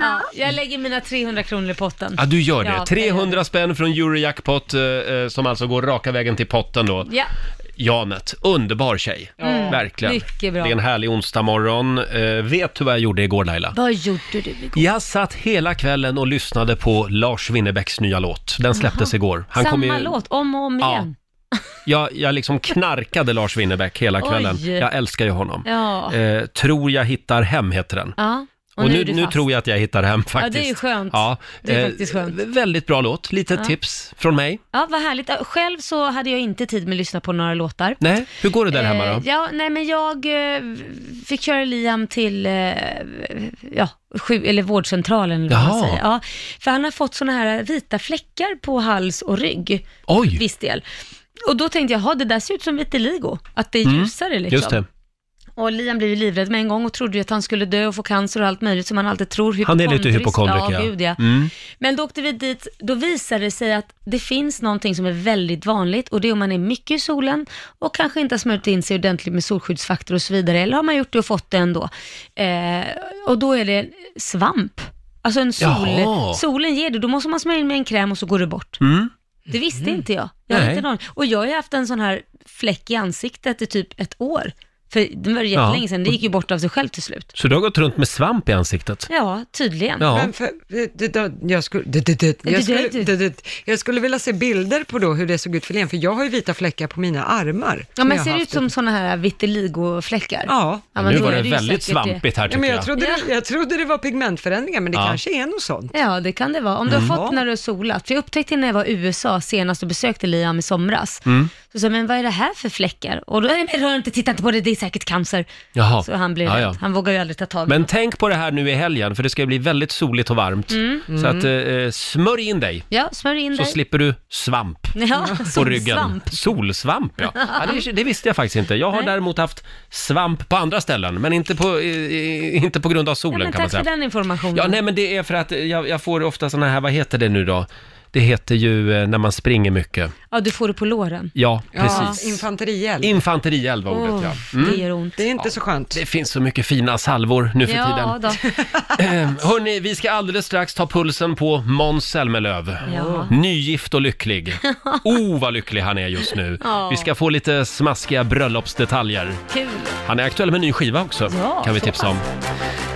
[SPEAKER 2] Ja, jag lägger mina 300 kronor i potten.
[SPEAKER 1] Ja, du gör det.
[SPEAKER 2] Ja,
[SPEAKER 1] 300 spänn från Eurojackpot eh, eh, som alltså går raka vägen till potten då.
[SPEAKER 2] Ja.
[SPEAKER 1] Janet, underbar tjej.
[SPEAKER 2] Mm,
[SPEAKER 1] Verkligen.
[SPEAKER 2] mycket bra.
[SPEAKER 1] Det är en härlig onsdag morgon. Eh, vet du vad jag gjorde igår Laila?
[SPEAKER 2] Vad gjorde du igår?
[SPEAKER 1] Jag satt hela kvällen och lyssnade på Lars Winnerbäcks nya låt. Den släpptes
[SPEAKER 2] Jaha.
[SPEAKER 1] igår.
[SPEAKER 2] Samma
[SPEAKER 1] ju-
[SPEAKER 2] låt, om och om
[SPEAKER 1] Ja.
[SPEAKER 2] igen.
[SPEAKER 1] Jag, jag liksom knarkade Lars Winnerbäck hela
[SPEAKER 2] Oj.
[SPEAKER 1] kvällen. Jag älskar ju honom.
[SPEAKER 2] Ja.
[SPEAKER 1] Eh, tror jag hittar hem heter den.
[SPEAKER 2] Ja.
[SPEAKER 1] Och, nu, nu tror jag att jag hittar hem faktiskt.
[SPEAKER 2] Ja, det är ju skönt.
[SPEAKER 1] Ja,
[SPEAKER 2] Det är
[SPEAKER 1] eh,
[SPEAKER 2] faktiskt skönt.
[SPEAKER 1] Väldigt bra låt. Lite
[SPEAKER 2] Ja.
[SPEAKER 1] tips från mig.
[SPEAKER 2] Ja, vad härligt. Själv så hade jag inte tid med att lyssna på några låtar.
[SPEAKER 1] Nej, hur går det där hemma
[SPEAKER 2] Eh,
[SPEAKER 1] då?
[SPEAKER 2] Ja, nej men jag eh, fick köra Liam till eh, ja, sju, eller vårdcentralen eller vad man
[SPEAKER 5] Jaha.
[SPEAKER 2] säger. Ja, för han har fått såna här vita fläckar på hals och rygg.
[SPEAKER 1] Oj.
[SPEAKER 2] Viss del. Och då tänkte jag, "Jaha, det där ser ut som vitiligo, att det är ljusare liksom.
[SPEAKER 1] Mm. Just det.
[SPEAKER 2] Och Liam blev ju livrädd med en gång och trodde ju att han skulle dö och få cancer och allt möjligt som han alltid tror.
[SPEAKER 1] Han är lite hypokondrik,
[SPEAKER 2] ja. Gud, ja.
[SPEAKER 1] Mm.
[SPEAKER 2] Men då åkte vi dit, då visade det sig att det finns någonting som är väldigt vanligt och det är om man är mycket i solen och kanske inte har smörjt in sig ordentligt med solskyddsfaktor och så vidare, eller har man gjort det och fått det ändå. Eh, och då är det svamp. Alltså en sol,
[SPEAKER 5] Jaha.
[SPEAKER 2] solen ger det, då måste man smörja in med en kräm och så går det bort.
[SPEAKER 1] Mm.
[SPEAKER 2] Det visste inte jag. jag hade
[SPEAKER 5] Nej.
[SPEAKER 2] inte någon. Och jag har ju haft en sån här fläck i ansiktet i typ ett år. För det var jättelänge sedan, det gick ju bort av sig själv till slut.
[SPEAKER 1] Så du har gått runt med svamp i ansiktet?
[SPEAKER 2] Ja, tydligen.
[SPEAKER 1] Ja.
[SPEAKER 3] Men för, det, det, jag, skulle, det, det, det, jag, skulle, det, det, jag skulle vilja se bilder på då hur det såg ut för Len, för jag har ju vita fläckar på mina armar.
[SPEAKER 2] Ja,
[SPEAKER 3] som
[SPEAKER 2] men
[SPEAKER 3] jag
[SPEAKER 2] ser
[SPEAKER 3] har
[SPEAKER 2] det ut
[SPEAKER 3] haft
[SPEAKER 2] som sådana här vitiligo-fläckar?
[SPEAKER 3] Ja.
[SPEAKER 2] men
[SPEAKER 1] nu
[SPEAKER 2] då
[SPEAKER 1] var
[SPEAKER 2] är
[SPEAKER 1] det
[SPEAKER 2] ju
[SPEAKER 1] väldigt
[SPEAKER 2] säkert det.
[SPEAKER 1] svampigt här
[SPEAKER 3] Ja,
[SPEAKER 1] tycker
[SPEAKER 3] men jag,
[SPEAKER 1] jag.
[SPEAKER 3] trodde det, jag trodde det var pigmentförändringar, men det
[SPEAKER 1] Ja.
[SPEAKER 3] kanske är något sånt.
[SPEAKER 2] Ja, det kan det vara. Om du
[SPEAKER 1] Mm.
[SPEAKER 2] har fått när du har solat. För jag upptäckte när jag var i USA senast och besökte Liam i somras.
[SPEAKER 1] Mm.
[SPEAKER 2] Så sa jag, men vad är det här för fläckar? Och då, nej men rör inte, titta inte på det, det är säkert cancer.
[SPEAKER 1] Jaha.
[SPEAKER 2] Så han blev
[SPEAKER 1] Ja,
[SPEAKER 2] rädd.
[SPEAKER 1] ja.
[SPEAKER 2] Han vågar ju aldrig ta tag i
[SPEAKER 1] Men tänk på det här nu i helgen, för det ska bli väldigt soligt och varmt.
[SPEAKER 2] Mm.
[SPEAKER 1] Så
[SPEAKER 2] Mm.
[SPEAKER 1] att eh, smörj in dig,
[SPEAKER 2] Ja, smörj in
[SPEAKER 1] så
[SPEAKER 2] dig.
[SPEAKER 1] slipper du svamp.
[SPEAKER 2] Ja,
[SPEAKER 1] på
[SPEAKER 2] solsvamp.
[SPEAKER 1] ryggen. Solsvamp, ja. ja det, det visste jag faktiskt inte. Jag har
[SPEAKER 2] Nej.
[SPEAKER 1] däremot haft svamp på andra ställen, men inte på, i- i- inte på grund av solen
[SPEAKER 2] Men
[SPEAKER 1] kan man
[SPEAKER 2] tack
[SPEAKER 1] säga.
[SPEAKER 2] för den informationen.
[SPEAKER 1] Ja, nej men det är för att jag, jag får ofta såna här, vad heter det nu då? Det heter ju eh, när man springer mycket.
[SPEAKER 2] Ja, du får det på låren.
[SPEAKER 1] Ja, precis.
[SPEAKER 3] infanterield.
[SPEAKER 1] Infanterield var ordet, ja. Mm.
[SPEAKER 2] Det gör ont.
[SPEAKER 3] Det är inte så skönt.
[SPEAKER 1] Det finns så mycket fina salvor nu för
[SPEAKER 2] ja,
[SPEAKER 1] tiden.
[SPEAKER 2] Då.
[SPEAKER 1] Eh, Hörni, vi ska alldeles strax ta pulsen på Måns Zelmerlöw.
[SPEAKER 2] Ja.
[SPEAKER 1] Nygift och lycklig. Oh, vad lycklig han är just nu.
[SPEAKER 2] Ja.
[SPEAKER 1] Vi ska få lite smaskiga bröllopsdetaljer.
[SPEAKER 2] Kul.
[SPEAKER 1] Han är aktuell med en ny skiva också,
[SPEAKER 2] Ja,
[SPEAKER 1] kan vi
[SPEAKER 2] så
[SPEAKER 1] tipsa om.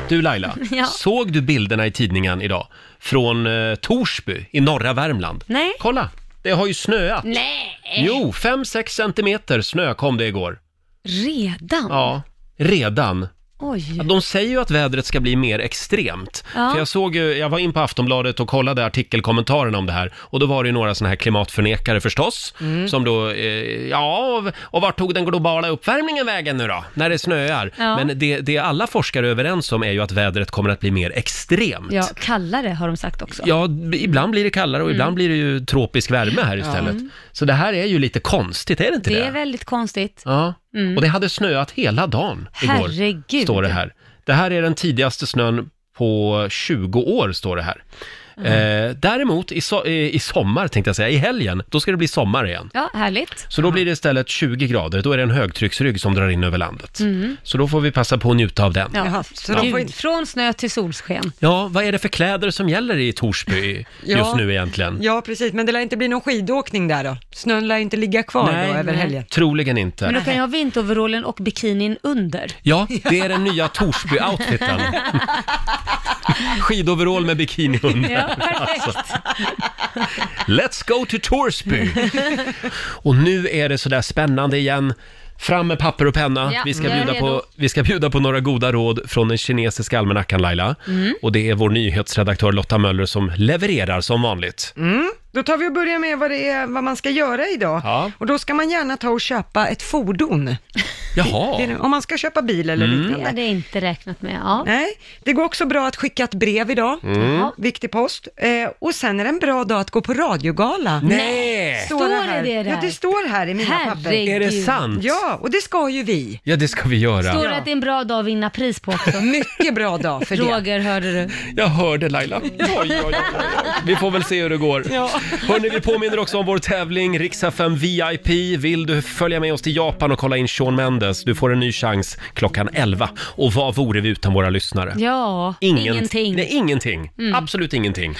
[SPEAKER 1] Du Laila,
[SPEAKER 2] Ja.
[SPEAKER 1] såg du bilderna i tidningen idag från eh, Torsby i norra Värmland?
[SPEAKER 2] Nej.
[SPEAKER 1] Kolla, det har ju snöat.
[SPEAKER 2] Nej.
[SPEAKER 1] Jo, 5-6 centimeter snö kom det igår.
[SPEAKER 2] Redan?
[SPEAKER 1] Ja, redan.
[SPEAKER 2] Oj.
[SPEAKER 1] Ja, De säger ju att vädret ska bli mer extremt.
[SPEAKER 2] Ja.
[SPEAKER 1] För jag, såg, ju- jag var in på Aftonbladet och kollade artikelkommentarerna om det här och då var det ju några sådana här klimatförnekare förstås
[SPEAKER 2] Mm.
[SPEAKER 1] som då, eh, ja, och- och vart tog den globala uppvärmningen vägen nu då, när det snöar?
[SPEAKER 2] Ja.
[SPEAKER 1] Men det, det alla forskare är överens om är ju att vädret kommer att bli mer extremt.
[SPEAKER 2] Ja, kallare har de sagt också.
[SPEAKER 1] Ja, b- ibland blir det kallare och
[SPEAKER 2] Mm.
[SPEAKER 1] ibland blir det ju tropisk värme här
[SPEAKER 2] Ja.
[SPEAKER 1] istället.
[SPEAKER 2] Mm.
[SPEAKER 1] Så det här är ju lite konstigt, är det inte det?
[SPEAKER 2] det är väldigt konstigt.
[SPEAKER 1] Ja,
[SPEAKER 2] Mm.
[SPEAKER 1] och det hade snöat hela dagen igår.
[SPEAKER 2] Herregud.
[SPEAKER 1] Står det här. Det här är den tidigaste snön på 20 år, står det här.
[SPEAKER 2] Mm.
[SPEAKER 1] Eh, däremot i, so- eh, i sommar, tänkte jag säga, i helgen, då ska det bli sommar igen.
[SPEAKER 2] Ja, härligt.
[SPEAKER 1] Så då blir det istället 20 grader, då är det en högtrycksrygg som drar in över landet.
[SPEAKER 2] Mm.
[SPEAKER 1] Så då får vi passa på att njuta av den.
[SPEAKER 2] Ja.
[SPEAKER 1] de
[SPEAKER 2] Gud,
[SPEAKER 1] får
[SPEAKER 2] Från snö till solsken.
[SPEAKER 1] Ja, vad är det för kläder som gäller i Torsby
[SPEAKER 3] Ja.
[SPEAKER 1] just nu egentligen?
[SPEAKER 3] Ja, precis, men det lär inte bli någon skidåkning där då? Snön lär inte ligga kvar då över helgen.
[SPEAKER 1] troligen inte.
[SPEAKER 2] Men då kan jag ha vinteroverallen och bikinin under.
[SPEAKER 1] Ja, det är den nya Torsby-outfiten. Skidoverall med bikinihund.
[SPEAKER 5] Ja, perfekt.
[SPEAKER 1] Let's go to Torsby! Och nu är det sådär spännande igen. Fram med papper och penna.
[SPEAKER 5] Ja,
[SPEAKER 1] vi, ska
[SPEAKER 5] jag är
[SPEAKER 1] bjuda
[SPEAKER 5] redo.
[SPEAKER 1] på, vi ska bjuda på några goda råd från den kinesiska almanackan Laila.
[SPEAKER 3] Mm.
[SPEAKER 1] Och det är vår nyhetsredaktör Lotta Möller som levererar som vanligt.
[SPEAKER 3] Mm. Då tar vi och börjar med vad, det är, vad man ska göra idag.
[SPEAKER 1] Ja.
[SPEAKER 3] Och då ska man gärna ta och köpa ett fordon.
[SPEAKER 1] Jaha.
[SPEAKER 3] Det är det- Om man ska köpa bil eller
[SPEAKER 1] Mm.
[SPEAKER 3] liknande.
[SPEAKER 2] Det hade jag inte räknat med. Ja.
[SPEAKER 3] Nej, det går också bra att skicka ett brev idag.
[SPEAKER 2] Mm. Jaha.
[SPEAKER 3] Viktig post. Eh, och sen är det en bra dag att gå på radiogala.
[SPEAKER 1] Nej!
[SPEAKER 2] Mm. Står det
[SPEAKER 3] här.
[SPEAKER 2] det där?
[SPEAKER 3] Ja, det står här i mina papper.
[SPEAKER 2] Herregud. Är det sant?
[SPEAKER 3] Ja, och det ska ju vi.
[SPEAKER 1] Ja, det ska vi göra.
[SPEAKER 2] Står det att det är en bra dag att vinna pris på också?
[SPEAKER 3] Mycket bra dag för det.
[SPEAKER 2] Roger, hörde du?
[SPEAKER 1] Jag hörde Laila. Oj, oj, oj, oj. Vi får väl se hur det går. Hörni, vi påminner också om vår tävling Rix FM VIP. Vill du följa med oss till Japan och kolla in Shawn Mendes? Du får en ny chans klockan 11. Och vad vore vi utan våra lyssnare?
[SPEAKER 2] Ja,
[SPEAKER 1] Ingen-
[SPEAKER 2] ingenting.
[SPEAKER 1] Nej, ingenting.
[SPEAKER 2] Mm.
[SPEAKER 1] Absolut ingenting.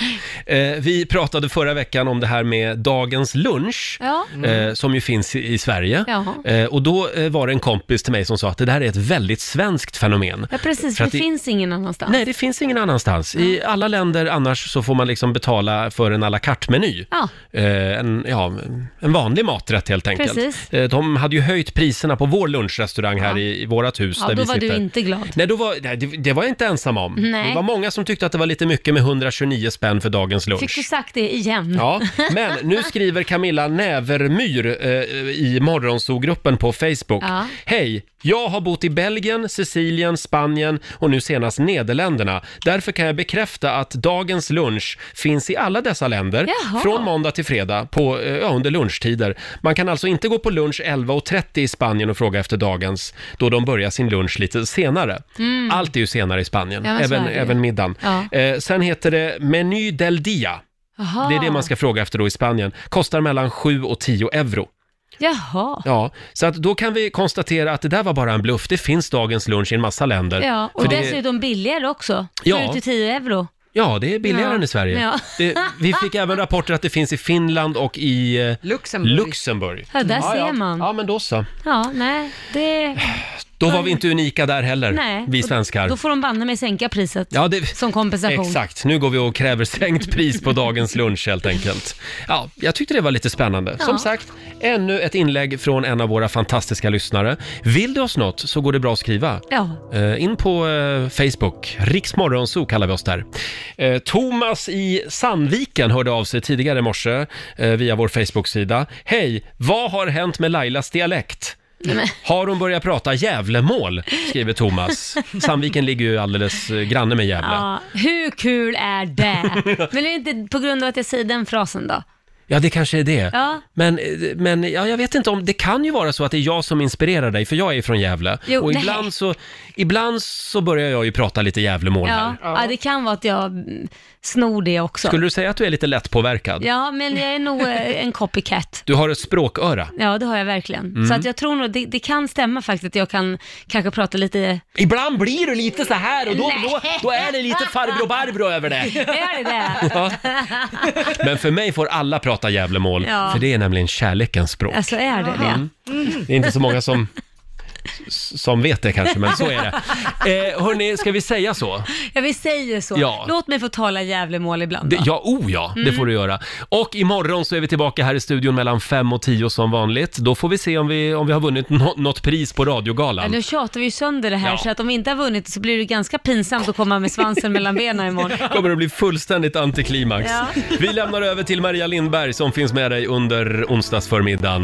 [SPEAKER 1] Eh, vi pratade förra veckan om det här med dagens lunch.
[SPEAKER 2] Ja.
[SPEAKER 1] Eh, som ju finns i, i Sverige.
[SPEAKER 2] Jaha.
[SPEAKER 1] Eh, och då eh, var det en kompis till mig som sa att det där är ett väldigt svenskt fenomen.
[SPEAKER 2] Ja, precis.
[SPEAKER 1] För
[SPEAKER 2] För
[SPEAKER 1] att
[SPEAKER 2] det finns ingen annanstans.
[SPEAKER 1] Nej, det finns ingen annanstans. I alla länder annars så får man liksom betala för en à la carte-meny.
[SPEAKER 2] Ja.
[SPEAKER 1] Eh, en, ja, en vanlig maträtt helt enkelt.
[SPEAKER 2] Precis.
[SPEAKER 1] Eh, de hade ju höjt priserna på vår lunchrestaurang här i, i vårat hus
[SPEAKER 2] Ja,
[SPEAKER 1] där
[SPEAKER 2] då
[SPEAKER 1] vi
[SPEAKER 2] var
[SPEAKER 1] sitter.
[SPEAKER 2] du inte glad.
[SPEAKER 1] Nej, då var, nej, det, det var jag inte ensam om.
[SPEAKER 2] Nej.
[SPEAKER 1] Det var många som tyckte att det var lite mycket med 129 spänn för dagens lunch.
[SPEAKER 2] Fick du sagt det igen?
[SPEAKER 5] Mm.
[SPEAKER 1] Ja, men nu skriver Camilla Nävermyr eh, i morgonsogruppen på Facebook.
[SPEAKER 2] Ja.
[SPEAKER 1] Hej! Jag har bott i Belgien, Sicilien, Spanien och nu senast Nederländerna. Därför kan jag bekräfta att dagens lunch finns i alla dessa länder
[SPEAKER 5] Jaha.
[SPEAKER 1] från måndag till fredag på, eh, ja, under lunchtider. Man kan alltså inte gå på lunch 11.30 i Spanien och fråga efter dagens då de börjar sin lunch lite senare.
[SPEAKER 5] Mm.
[SPEAKER 1] Allt är ju senare i Spanien,
[SPEAKER 5] Ja, men så
[SPEAKER 1] även,
[SPEAKER 5] är det ju.
[SPEAKER 1] även middagen.
[SPEAKER 5] Ja.
[SPEAKER 1] Eh, sen heter det Meny del Dia.
[SPEAKER 2] Jaha.
[SPEAKER 1] Det är det man ska fråga efter då i Spanien. Kostar mellan 7 och 10 euro.
[SPEAKER 2] Jaha.
[SPEAKER 1] Ja, så att då kan vi konstatera att det där var bara en bluff. Det finns dagens lunch i en massa länder.
[SPEAKER 2] Ja, och
[SPEAKER 1] För det-
[SPEAKER 2] dessutom billigare också.
[SPEAKER 1] Ja.
[SPEAKER 2] 7-10 euro.
[SPEAKER 1] Ja, det är billigare
[SPEAKER 2] Ja.
[SPEAKER 1] än i Sverige.
[SPEAKER 2] Ja.
[SPEAKER 1] Det, vi fick även rapporter att det finns i Finland och i eh,
[SPEAKER 3] Luxemburg.
[SPEAKER 1] Luxemburg.
[SPEAKER 2] Ja, där ser
[SPEAKER 1] ja.
[SPEAKER 2] man.
[SPEAKER 1] Ja, men då så.
[SPEAKER 2] Ja, nej, det...
[SPEAKER 1] Då var vi inte unika där heller,
[SPEAKER 2] Nej.
[SPEAKER 1] vi
[SPEAKER 2] Och
[SPEAKER 1] svenskar.
[SPEAKER 2] Då får de banne mig sänka priset
[SPEAKER 1] Ja, det...
[SPEAKER 2] som kompensation.
[SPEAKER 1] Exakt, nu går vi och kräver sänkt pris på dagens lunch helt enkelt. Ja, jag tyckte det var lite spännande.
[SPEAKER 2] Ja.
[SPEAKER 1] Som sagt, ännu ett inlägg från en av våra fantastiska lyssnare. Vill du oss något så går det bra att skriva.
[SPEAKER 2] Ja.
[SPEAKER 1] Eh, In på eh, Facebook, Riksmorgonzoo kallar vi oss där. Eh, Thomas i Sandviken hörde av sig tidigare i morse eh, via vår Facebook-sida. Hej, vad har hänt med Lailas dialekt? Har hon börjat prata Gävlemål? skriver Thomas. Sandviken ligger ju alldeles eh, granne med Gävle.
[SPEAKER 2] Ja, hur kul är det? Men det är inte på grund av att jag säger den frasen då.
[SPEAKER 1] Ja, det kanske är det.
[SPEAKER 2] Ja.
[SPEAKER 1] Men, men ja, jag vet inte om, det kan ju vara så att det är jag som inspirerar dig, för jag är ju från Gävle.
[SPEAKER 2] Jo,
[SPEAKER 1] och
[SPEAKER 2] nej.
[SPEAKER 1] ibland så, ibland så börjar jag ju prata lite Gävlemål
[SPEAKER 2] Ja.
[SPEAKER 1] här.
[SPEAKER 2] ja, det kan vara att jag mm, snor det också.
[SPEAKER 1] Skulle du säga att du är lite lättpåverkad?
[SPEAKER 2] Ja, men jag är nog eh, en copycat.
[SPEAKER 1] Du har ett språköra.
[SPEAKER 2] Ja, det har jag verkligen.
[SPEAKER 1] Mm.
[SPEAKER 2] Så att jag tror nog, det, det kan stämma faktiskt att jag kan kanske prata lite...
[SPEAKER 1] Ibland blir du lite så här och då- då- då är
[SPEAKER 2] det
[SPEAKER 1] lite farbror Barbro över det.
[SPEAKER 2] Är det det?
[SPEAKER 1] Ja. Men för mig får alla prata Gävlemål,
[SPEAKER 2] Ja.
[SPEAKER 1] för det är nämligen kärlekens språk.
[SPEAKER 2] Alltså är det det?
[SPEAKER 1] Mm. Det är inte så många som, som vet det kanske, men så är det. Eh, hörni, ska vi säga så?
[SPEAKER 2] Ja, vi säger så.
[SPEAKER 1] Ja.
[SPEAKER 2] Låt mig få tala Gävlemål ibland
[SPEAKER 1] Det,
[SPEAKER 2] då.
[SPEAKER 1] ja, oh ja, det
[SPEAKER 2] Mm.
[SPEAKER 1] får du göra. Och imorgon så är vi tillbaka här i studion mellan 5 och 10 som vanligt. Då får vi se om vi, om vi har vunnit nå- något pris på
[SPEAKER 2] Ja,
[SPEAKER 1] radiogalan.
[SPEAKER 2] nu tjatar vi ju sönder det här
[SPEAKER 1] Ja.
[SPEAKER 2] så att om vi inte har vunnit så blir det ganska pinsamt att komma med svansen mellan benen imorgon.
[SPEAKER 1] kommer att bli fullständigt antiklimax.
[SPEAKER 2] Ja.
[SPEAKER 1] Vi lämnar över till Maria Lindberg som finns med dig under onsdagsförmiddagen.